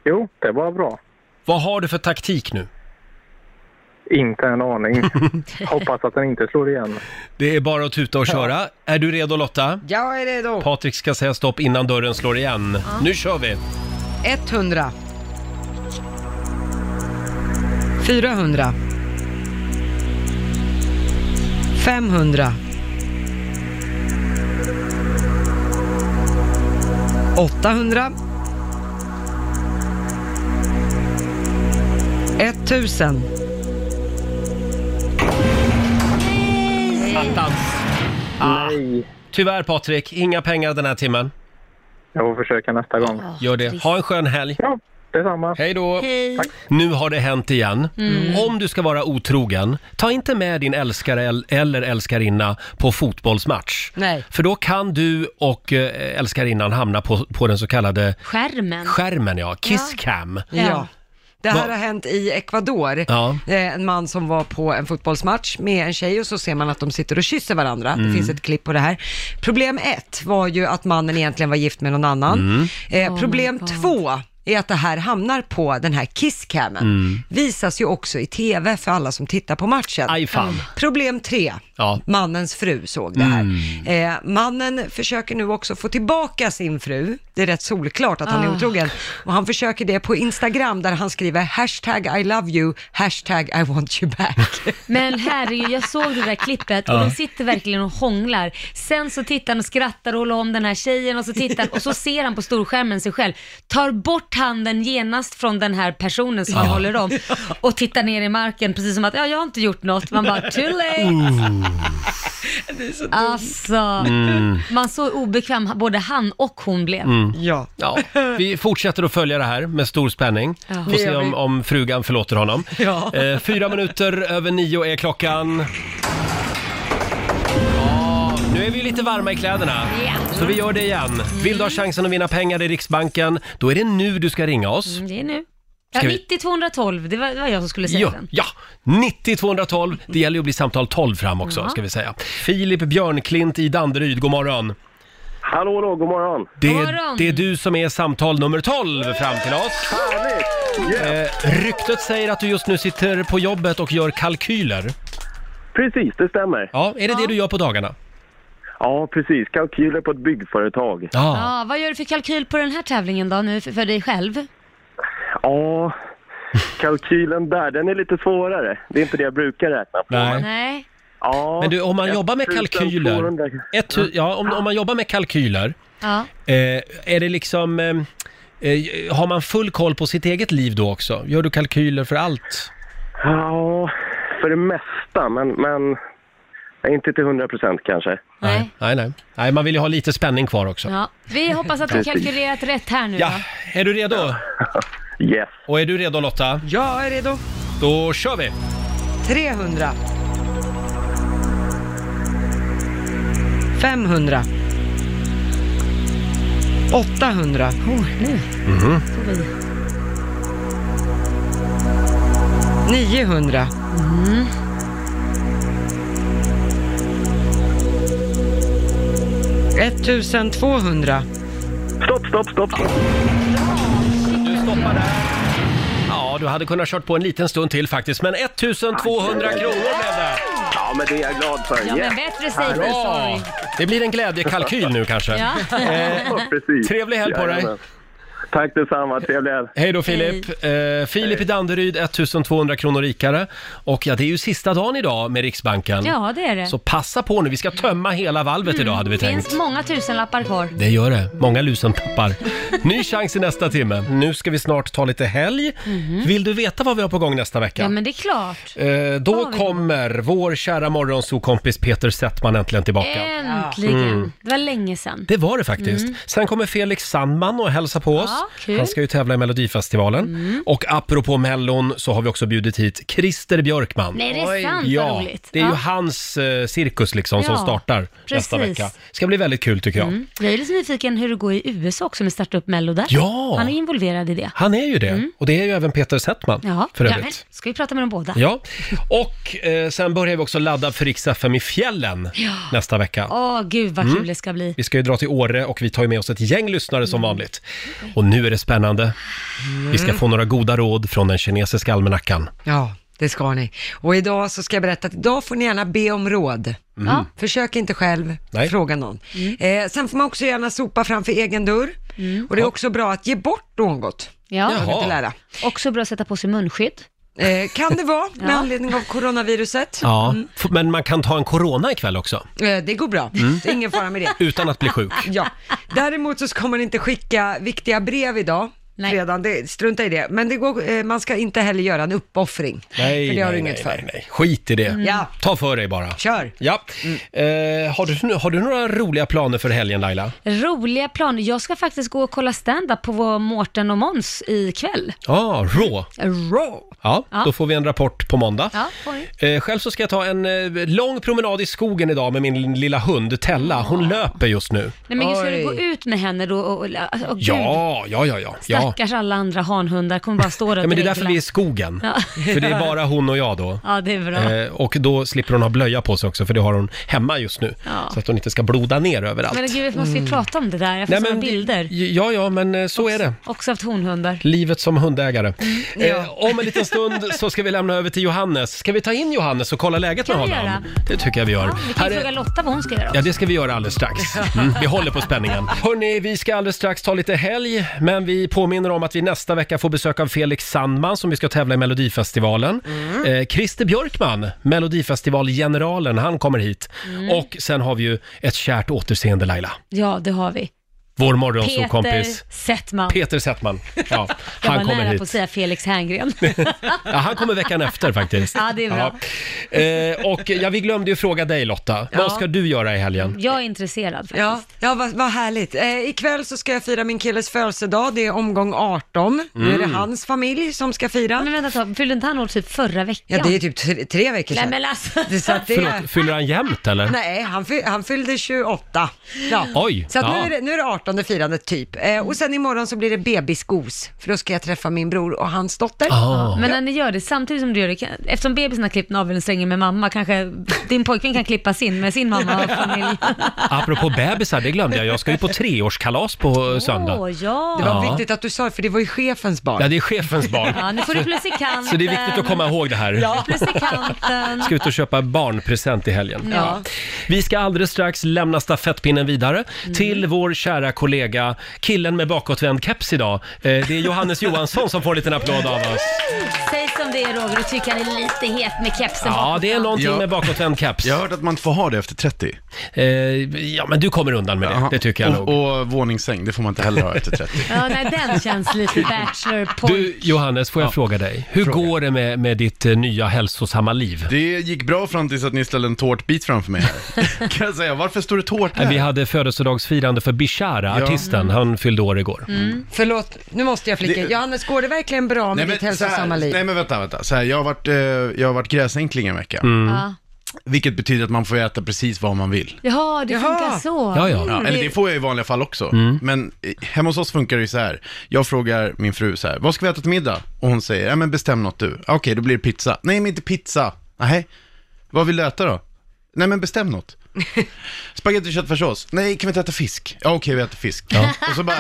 Speaker 19: Jo, det var bra.
Speaker 1: Vad har du för taktik nu?
Speaker 19: Inte en aning. Hoppas att den inte slår igen.
Speaker 1: Det är bara att tuta och köra. Är du redo Lotta?
Speaker 3: Jag är redo.
Speaker 1: Patrik ska säga stopp innan dörren slår igen. Nu kör vi!
Speaker 3: 100. 400. 500. 800. 1000.
Speaker 1: Attans! Nej. Tyvärr Patrik, inga pengar den här timmen. Jag får försöka nästa gång. Gör det. Ha en skön helg. Ja, detsamma. Hej då.
Speaker 2: Hej. Tack.
Speaker 1: Nu har det hänt igen.
Speaker 2: Mm.
Speaker 1: Om du ska vara otrogen, ta inte med din älskare el- eller älskarinna på fotbollsmatch.
Speaker 2: Nej.
Speaker 1: För då kan du och eh, älskarinnan hamna på, på den så kallade
Speaker 2: Skärmen.
Speaker 1: skärmen, ja. Kisscam.
Speaker 3: Ja. Det här
Speaker 1: Va-
Speaker 3: har hänt i Ecuador.
Speaker 1: Ja.
Speaker 3: Eh, En man som var på en fotbollsmatch med en tjej och så ser man att de sitter och kysser varandra.
Speaker 11: Mm.
Speaker 3: Det finns ett klipp på det här. Problem ett var ju att mannen egentligen var gift med någon
Speaker 1: Mm.
Speaker 3: annan. Eh, problem två är att det här hamnar på den här kisscamen.
Speaker 1: Mm.
Speaker 3: Visas ju också i tv för alla som tittar på matchen.
Speaker 1: Aj,
Speaker 2: Mm.
Speaker 1: fan.
Speaker 3: Problem tre.
Speaker 1: Ja.
Speaker 3: Mannens fru såg det här.
Speaker 1: Mm.
Speaker 3: Eh, mannen försöker nu också få tillbaka sin fru. Det är rätt solklart att han är
Speaker 11: Ah.
Speaker 3: otrogen. Och han försöker det på Instagram där han skriver hashtag I love you, hashtag I want you back.
Speaker 2: Men herregud, jag såg det där klippet och
Speaker 3: Ja.
Speaker 2: de sitter verkligen och hånglar. Sen så tittar han och skrattar och håller om den här tjejen och så tittar han- och så ser han på storskärmen sig själv. Tar bort handen genast från den här personen som han
Speaker 11: Ja.
Speaker 2: håller om och tittar ner i marken precis som att ja, jag har inte gjort något. Man bara too late.
Speaker 1: Ooh.
Speaker 2: Alltså,
Speaker 1: Mm.
Speaker 2: man så obekväm både han och hon blev.
Speaker 1: Mm.
Speaker 3: Ja.
Speaker 1: Vi fortsätter att följa det här med stor spänning.
Speaker 2: Ja.
Speaker 1: Får
Speaker 2: Det
Speaker 1: se
Speaker 2: gör vi.
Speaker 1: om, om frugan förlåter honom.
Speaker 2: Ja.
Speaker 1: Eh, fyra minuter över nio är klockan. Ja, Nu är vi ju lite varma i kläderna,
Speaker 2: Ja. Mm.
Speaker 1: så vi gör det igen. Vill du ha chansen att vinna pengar i Riksbanken, då är det nu du ska ringa oss.
Speaker 2: Mm, Det är nu. Ja,
Speaker 1: Ska vi-
Speaker 2: 90-212, det var, det var jag som skulle säga
Speaker 1: Ja,
Speaker 2: den.
Speaker 1: ja, 90 212. Det gäller ju att bli samtal 12 fram också,
Speaker 2: Ja.
Speaker 1: ska vi säga. Filip Björnklint i Danderyd, god morgon.
Speaker 20: Hallå då, god morgon.
Speaker 1: Det
Speaker 20: God
Speaker 1: är,
Speaker 20: morgon.
Speaker 1: det är du som är samtal nummer 12 fram till oss. Eh, ryktet säger att du just nu sitter på jobbet och gör kalkyler.
Speaker 20: Precis, det stämmer.
Speaker 1: Ja, är det det du gör på dagarna?
Speaker 20: Ja, precis. Kalkyler på ett byggföretag.
Speaker 1: Ja.
Speaker 2: Ja, vad gör du för kalkyl på den här tävlingen då nu för, för dig själv?
Speaker 20: Ja, kalkylen där, den är lite svårare. Det är inte det jag brukar räkna på.
Speaker 2: Nej.
Speaker 20: Ja,
Speaker 1: Men du, om man jobbar med
Speaker 20: 1200.
Speaker 1: kalkyler, ett, hu- ja, om, om man jobbar med kalkyler,
Speaker 2: Ja.
Speaker 1: eh, är det liksom, eh, eh, har man full koll på sitt eget liv då också? Gör du kalkyler för allt?
Speaker 20: Ja, för det mesta, men, men inte till 100 procent kanske.
Speaker 2: Nej.
Speaker 1: Nej, nej. Nej, man vill ju ha lite spänning kvar också.
Speaker 2: Ja, vi hoppas att du har
Speaker 1: Precis.
Speaker 2: kalkylerat rätt här nu
Speaker 1: Ja,
Speaker 2: då.
Speaker 1: är du redo?
Speaker 20: Yes.
Speaker 1: Och är du redo Lotta?
Speaker 3: Jag är redo.
Speaker 1: Då kör vi!
Speaker 3: 300. 500. 800.
Speaker 2: nu.
Speaker 1: Mhm.
Speaker 3: 900.
Speaker 2: Mm.
Speaker 3: 1200.
Speaker 20: Stopp, stopp, stopp.
Speaker 1: Ja, du hade kunnat kört på en liten stund till faktiskt, men 1200 kronor blev det!
Speaker 20: Ja, men det är jag glad för.
Speaker 2: Ja, men bättre safe than sorry.
Speaker 1: Det blir en glädjekalkyl nu kanske.
Speaker 2: Ja.
Speaker 20: Precis.
Speaker 1: Trevlig helg på dig.
Speaker 20: Jajamän. Tack detsamma, trevlig helg.
Speaker 1: Hej då Filip! Eh, Filip i Danderyd, 1200 kronor rikare. Och ja, det är ju sista dagen idag med Riksbanken.
Speaker 2: Ja, det är det.
Speaker 1: Så passa på nu, vi ska tömma hela valvet idag hade vi
Speaker 2: Det
Speaker 1: tänkt.
Speaker 2: Mm. finns många tusenlappar kvar.
Speaker 1: Det gör det. Många lusenpappar. Ny chans i nästa timme. Nu ska vi snart ta lite helg.
Speaker 2: Mhm.
Speaker 1: Vill du veta vad vi har på gång nästa vecka?
Speaker 2: Ja, men det är klart.
Speaker 1: Eh,
Speaker 2: Vad
Speaker 1: då
Speaker 2: har vi på
Speaker 1: kommer vår kära morgonsokompis Peter Settman äntligen tillbaka.
Speaker 2: Äntligen.
Speaker 1: Mm.
Speaker 2: Det var länge sedan.
Speaker 1: Det var det faktiskt.
Speaker 2: Eh. Mm.
Speaker 1: Sen kommer Felix Sandman och hälsa på oss.
Speaker 2: kul. Mm.
Speaker 1: Han ska ju tävla i Melodifestivalen. Och apropå Mellon så har vi också bjudit hit Christer Björkman.
Speaker 2: Nej, det är Oj. sant, vad
Speaker 1: Ja,
Speaker 2: roligt.
Speaker 1: det är ju
Speaker 2: Ja.
Speaker 1: hans eh, cirkus liksom som
Speaker 2: Ja,
Speaker 1: startar nästa
Speaker 2: precis.
Speaker 1: vecka. Ska bli väldigt kul tycker jag.
Speaker 2: Mm. Jag är lite nyfiken hur det går i USA också med starta upp Mello där.
Speaker 1: Ja.
Speaker 2: Han är involverad i det.
Speaker 1: Han är ju det.
Speaker 2: Mm.
Speaker 1: Och det är ju även Peter Settman
Speaker 2: Ja,
Speaker 1: för
Speaker 2: ja,
Speaker 1: övrigt.
Speaker 2: men ska vi prata med dem båda?
Speaker 1: Ja, och eh, sen börjar vi också ladda för Rix FM i fjällen
Speaker 2: Ja.
Speaker 1: nästa vecka.
Speaker 2: Åh, gud vad kul
Speaker 1: Mm.
Speaker 2: det ska bli.
Speaker 1: Vi ska ju dra till Åre och vi tar ju med oss ett gäng lyssnare som
Speaker 2: Mm.
Speaker 1: vanligt. Och nu är det spännande. Vi ska få några goda råd från den kinesiska almanackan.
Speaker 3: Ja, det ska ni. Och idag så ska jag berätta att idag får ni gärna be om råd.
Speaker 1: Mm. Ja.
Speaker 3: Försök inte själv,
Speaker 1: Nej.
Speaker 3: fråga någon. Eh, sen får man också gärna sopa framför egen dörr. Och det är också bra att ge bort något.
Speaker 2: Ja.
Speaker 3: Jag vill inte lära.
Speaker 2: Också bra att sätta på sig munskydd.
Speaker 3: Eh, kan det vara, med
Speaker 2: Ja.
Speaker 3: anledning av coronaviruset.
Speaker 1: Ja,
Speaker 2: Mm.
Speaker 1: f- men man kan ta en corona ikväll också.
Speaker 3: Eh, det går bra,
Speaker 1: Mm.
Speaker 3: det är ingen fara med det.
Speaker 1: Utan att bli sjuk.
Speaker 3: Ja. Däremot så ska man inte skicka viktiga brev idag. redan, det, strunta i det. Men det går, eh, man ska inte heller göra en uppoffring.
Speaker 1: Nej,
Speaker 3: för det har du
Speaker 1: nej,
Speaker 3: inget
Speaker 1: nej,
Speaker 3: för.
Speaker 1: nej, nej. Skit i det.
Speaker 3: Mm. Ja.
Speaker 1: Ta för dig bara.
Speaker 3: Kör.
Speaker 1: Ja. Eh, har, du, har du några roliga planer för helgen Laila?
Speaker 2: Roliga planer. Jag ska faktiskt gå och kolla stand-up på vår Mårten och Måns ikväll.
Speaker 1: Ja, ah, rå.
Speaker 2: Raw.
Speaker 1: Ja,
Speaker 2: Ja.
Speaker 1: då får vi en rapport på måndag.
Speaker 2: Ja, får ni.
Speaker 1: Eh, själv så ska jag ta en eh, lång promenad i skogen idag med min lilla hund Tella. Hon löper just nu.
Speaker 2: Nej men gud, ska du gå ut med henne då och, och, och gud,
Speaker 1: Ja, ja, ja, ja. ja.
Speaker 2: Stackars alla andra hanhundar kommer bara stå där och
Speaker 1: Ja, men det är därför
Speaker 2: dregla.
Speaker 1: vi är i skogen.
Speaker 2: Ja.
Speaker 1: För det är bara hon och jag då.
Speaker 2: Ja, det är bra.
Speaker 1: Eh, och då slipper hon ha blöja på sig också, för det har hon hemma just nu.
Speaker 2: Ja.
Speaker 1: Så att hon inte ska bloda ner överallt.
Speaker 2: men gud, måste vi
Speaker 1: Mm.
Speaker 2: prata om det där? Jag får
Speaker 1: Nej,
Speaker 2: såna
Speaker 1: men-
Speaker 2: bilder.
Speaker 1: Ja, ja, men eh, så är det.
Speaker 2: Också haft honhundar.
Speaker 1: Livet som hundägare.
Speaker 2: Ja.
Speaker 1: Eh, om en liten stund så ska vi lämna över till Johannes. Ska vi ta in Johannes och kolla läget med
Speaker 2: Kan vi
Speaker 1: honom?
Speaker 2: göra?
Speaker 1: Det tycker jag vi gör.
Speaker 2: Ja, vi kan
Speaker 1: Här
Speaker 2: ju
Speaker 1: är-
Speaker 2: fråga Lotta vad hon ska göra.
Speaker 1: Ja, det ska vi göra alldeles strax. Mm, vi håller på spänningen. Hörni, vi ska alldeles strax ta lite helg, men vi påminner om att vi nästa vecka får besök av Felix Sandman som vi ska tävla i Melodifestivalen.
Speaker 2: Mm.
Speaker 1: Eh, Christer Björkman, Melodifestivalgeneralen, han kommer hit.
Speaker 2: Mm.
Speaker 1: Och sen har vi ju ett kärt återseende, Laila.
Speaker 2: Ja, det har vi.
Speaker 1: Vår
Speaker 2: Peter
Speaker 1: morgonsåkompis.
Speaker 2: Settman.
Speaker 1: Peter Settman. Ja,
Speaker 2: Jag var
Speaker 1: han kommer
Speaker 2: nära
Speaker 1: hit.
Speaker 2: på att säga Felix Herngren.
Speaker 1: Ja, han kommer veckan efter faktiskt.
Speaker 2: Ja, det är bra.
Speaker 1: Ja. Eh, och ja, vi glömde ju fråga dig Lotta,
Speaker 3: Ja.
Speaker 1: vad ska du göra i helgen?
Speaker 2: Jag är intresserad faktiskt.
Speaker 3: Ja, ja vad, vad härligt. Eh, ikväll så ska jag fira min killes födelsedag, det är omgång 18. Nu är det
Speaker 2: Mm.
Speaker 3: hans familj som ska fira.
Speaker 2: Men vänta, ta- fyllde inte han år typ förra veckan?
Speaker 3: Ja, det är typ tre, tre veckor
Speaker 2: Nej
Speaker 3: sedan.
Speaker 2: men alltså.
Speaker 3: Det- så att det-
Speaker 1: Förlåt, fyller han jämnt eller?
Speaker 3: Nej, han, fy, han fyllde 28. Ja.
Speaker 1: Oj,
Speaker 3: så att
Speaker 1: ja.
Speaker 3: nu, är det, nu är det 18 firandet typ. Eh, och sen imorgon så blir det bebisgos, för då ska jag träffa min bror och hans dotter.
Speaker 1: Ah.
Speaker 2: Ja, Men när ni gör det samtidigt som du gör det, kan- eftersom bebisen har klippt navelsträngen med mamma, kanske din pojkvän kan klippa sin med sin mamma och familj.
Speaker 1: Apropå bebisar, det glömde jag. Jag ska ju på treårskalas på eh, söndag.
Speaker 2: Åh ja.
Speaker 1: Det var Ja. viktigt
Speaker 3: att du sa det, för det var ju chefens barn.
Speaker 1: Ja, det är chefens barn.
Speaker 2: Ja, nu får du plus i kanten.
Speaker 1: Så det är viktigt att komma ihåg det här.
Speaker 2: Ja, plus i kanten.
Speaker 1: Ska ut och köpa barnpresent i helgen.
Speaker 2: Ja.
Speaker 1: Vi ska alldeles strax lämna stafettpinnen vidare
Speaker 3: Mm.
Speaker 1: till vår kära kollega, killen med bakåtvänd keps idag. Eh, Det är Johannes Johansson som får en liten applåd av oss.
Speaker 2: Säg som det är Roger, du tycker han är lite het med
Speaker 1: Ja,
Speaker 2: kepsen bakom.
Speaker 1: det är någonting
Speaker 13: Ja.
Speaker 1: med bakåtvänd keps. Eh,
Speaker 13: Jag har hört att man inte får ha det efter 30.
Speaker 1: ja, men du kommer undan med det. Det tycker jag
Speaker 13: och, nog. Och våningssäng, det får man inte heller ha efter 30.
Speaker 2: Ja, nej, den känns lite bachelor
Speaker 1: Du, Johannes, får jag
Speaker 13: Ja.
Speaker 1: fråga dig? Hur går det med, med ditt eh, nya hälsosamma liv?
Speaker 13: Det gick bra fram tills att ni ställde en tårtbit framför mig här. kan jag säga, varför står det tårta
Speaker 1: Eh, Vi
Speaker 13: här?
Speaker 1: hade födelsedagsfirande för Bishara,
Speaker 13: Ja.
Speaker 1: artisten. Han fyllde år igår.
Speaker 3: Förlåt, nu måste jag flika in.
Speaker 13: Det-
Speaker 3: Johannes, går det verkligen bra med ditt
Speaker 13: så
Speaker 3: hälsosamma
Speaker 13: här,
Speaker 3: liv?
Speaker 13: nej men vänta, vänta. Så här, jag har varit, eh, jag har varit gräsänkling en vecka.
Speaker 2: Ja.
Speaker 13: Vilket betyder att man får äta precis vad man vill.
Speaker 2: Jaha, det funkar så. Mm.
Speaker 13: eller det får jag i vanliga fall också. Men eh, hemma hos oss funkar det ju så här. Jag frågar min fru så här, vad ska vi äta till middag? Och hon säger, ja men bestäm något du. Ah, Okej, då blir det pizza. Nej, men inte pizza. Nej. Vad vill du äta då? Nej, men bestäm något. Spagetti och köttfärssås? Nej, kan vi inte äta fisk? Ja, okej, vi äter fisk. Och så bara,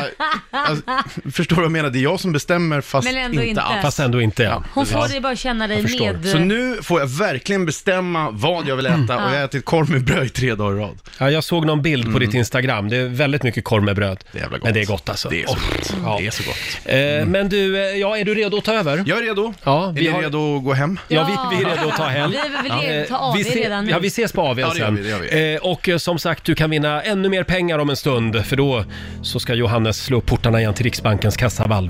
Speaker 13: alltså, förstår du vad jag menar? Det är jag som bestämmer, fast
Speaker 2: Men ändå inte.
Speaker 13: alls.
Speaker 2: Fast
Speaker 1: ändå inte,
Speaker 2: Hon får dig bara känna dig med.
Speaker 13: Så nu får jag verkligen bestämma vad jag vill äta och jag har ätit korv med bröd i tre dagar i rad.
Speaker 1: Ja, jag såg någon bild på ditt Instagram. Det är väldigt mycket korv med bröd. Det
Speaker 13: Mm.
Speaker 1: är
Speaker 13: jävla gott.
Speaker 1: Men det är gott alltså.
Speaker 13: Det är så gott. Det är så gott. Mm.
Speaker 1: Eh, Men du, eh, ja, är du redo att ta över?
Speaker 13: Jag är redo.
Speaker 1: Ja,
Speaker 13: Är ni redo att gå hem?
Speaker 1: Ja, vi, vi är redo att ta helg.
Speaker 2: Vi är väl redo att ta
Speaker 1: Eh,
Speaker 2: av,
Speaker 1: vi
Speaker 2: vi är
Speaker 1: se-
Speaker 2: redan nu.
Speaker 1: Ja, vi ses på AWn
Speaker 13: Ja, det gör
Speaker 1: sen.
Speaker 13: vi, det gör
Speaker 1: Eh, Och eh, som sagt, du kan vinna ännu mer pengar om en stund, för då så ska Johannes slå upp portarna igen till Riksbankens kassavalv.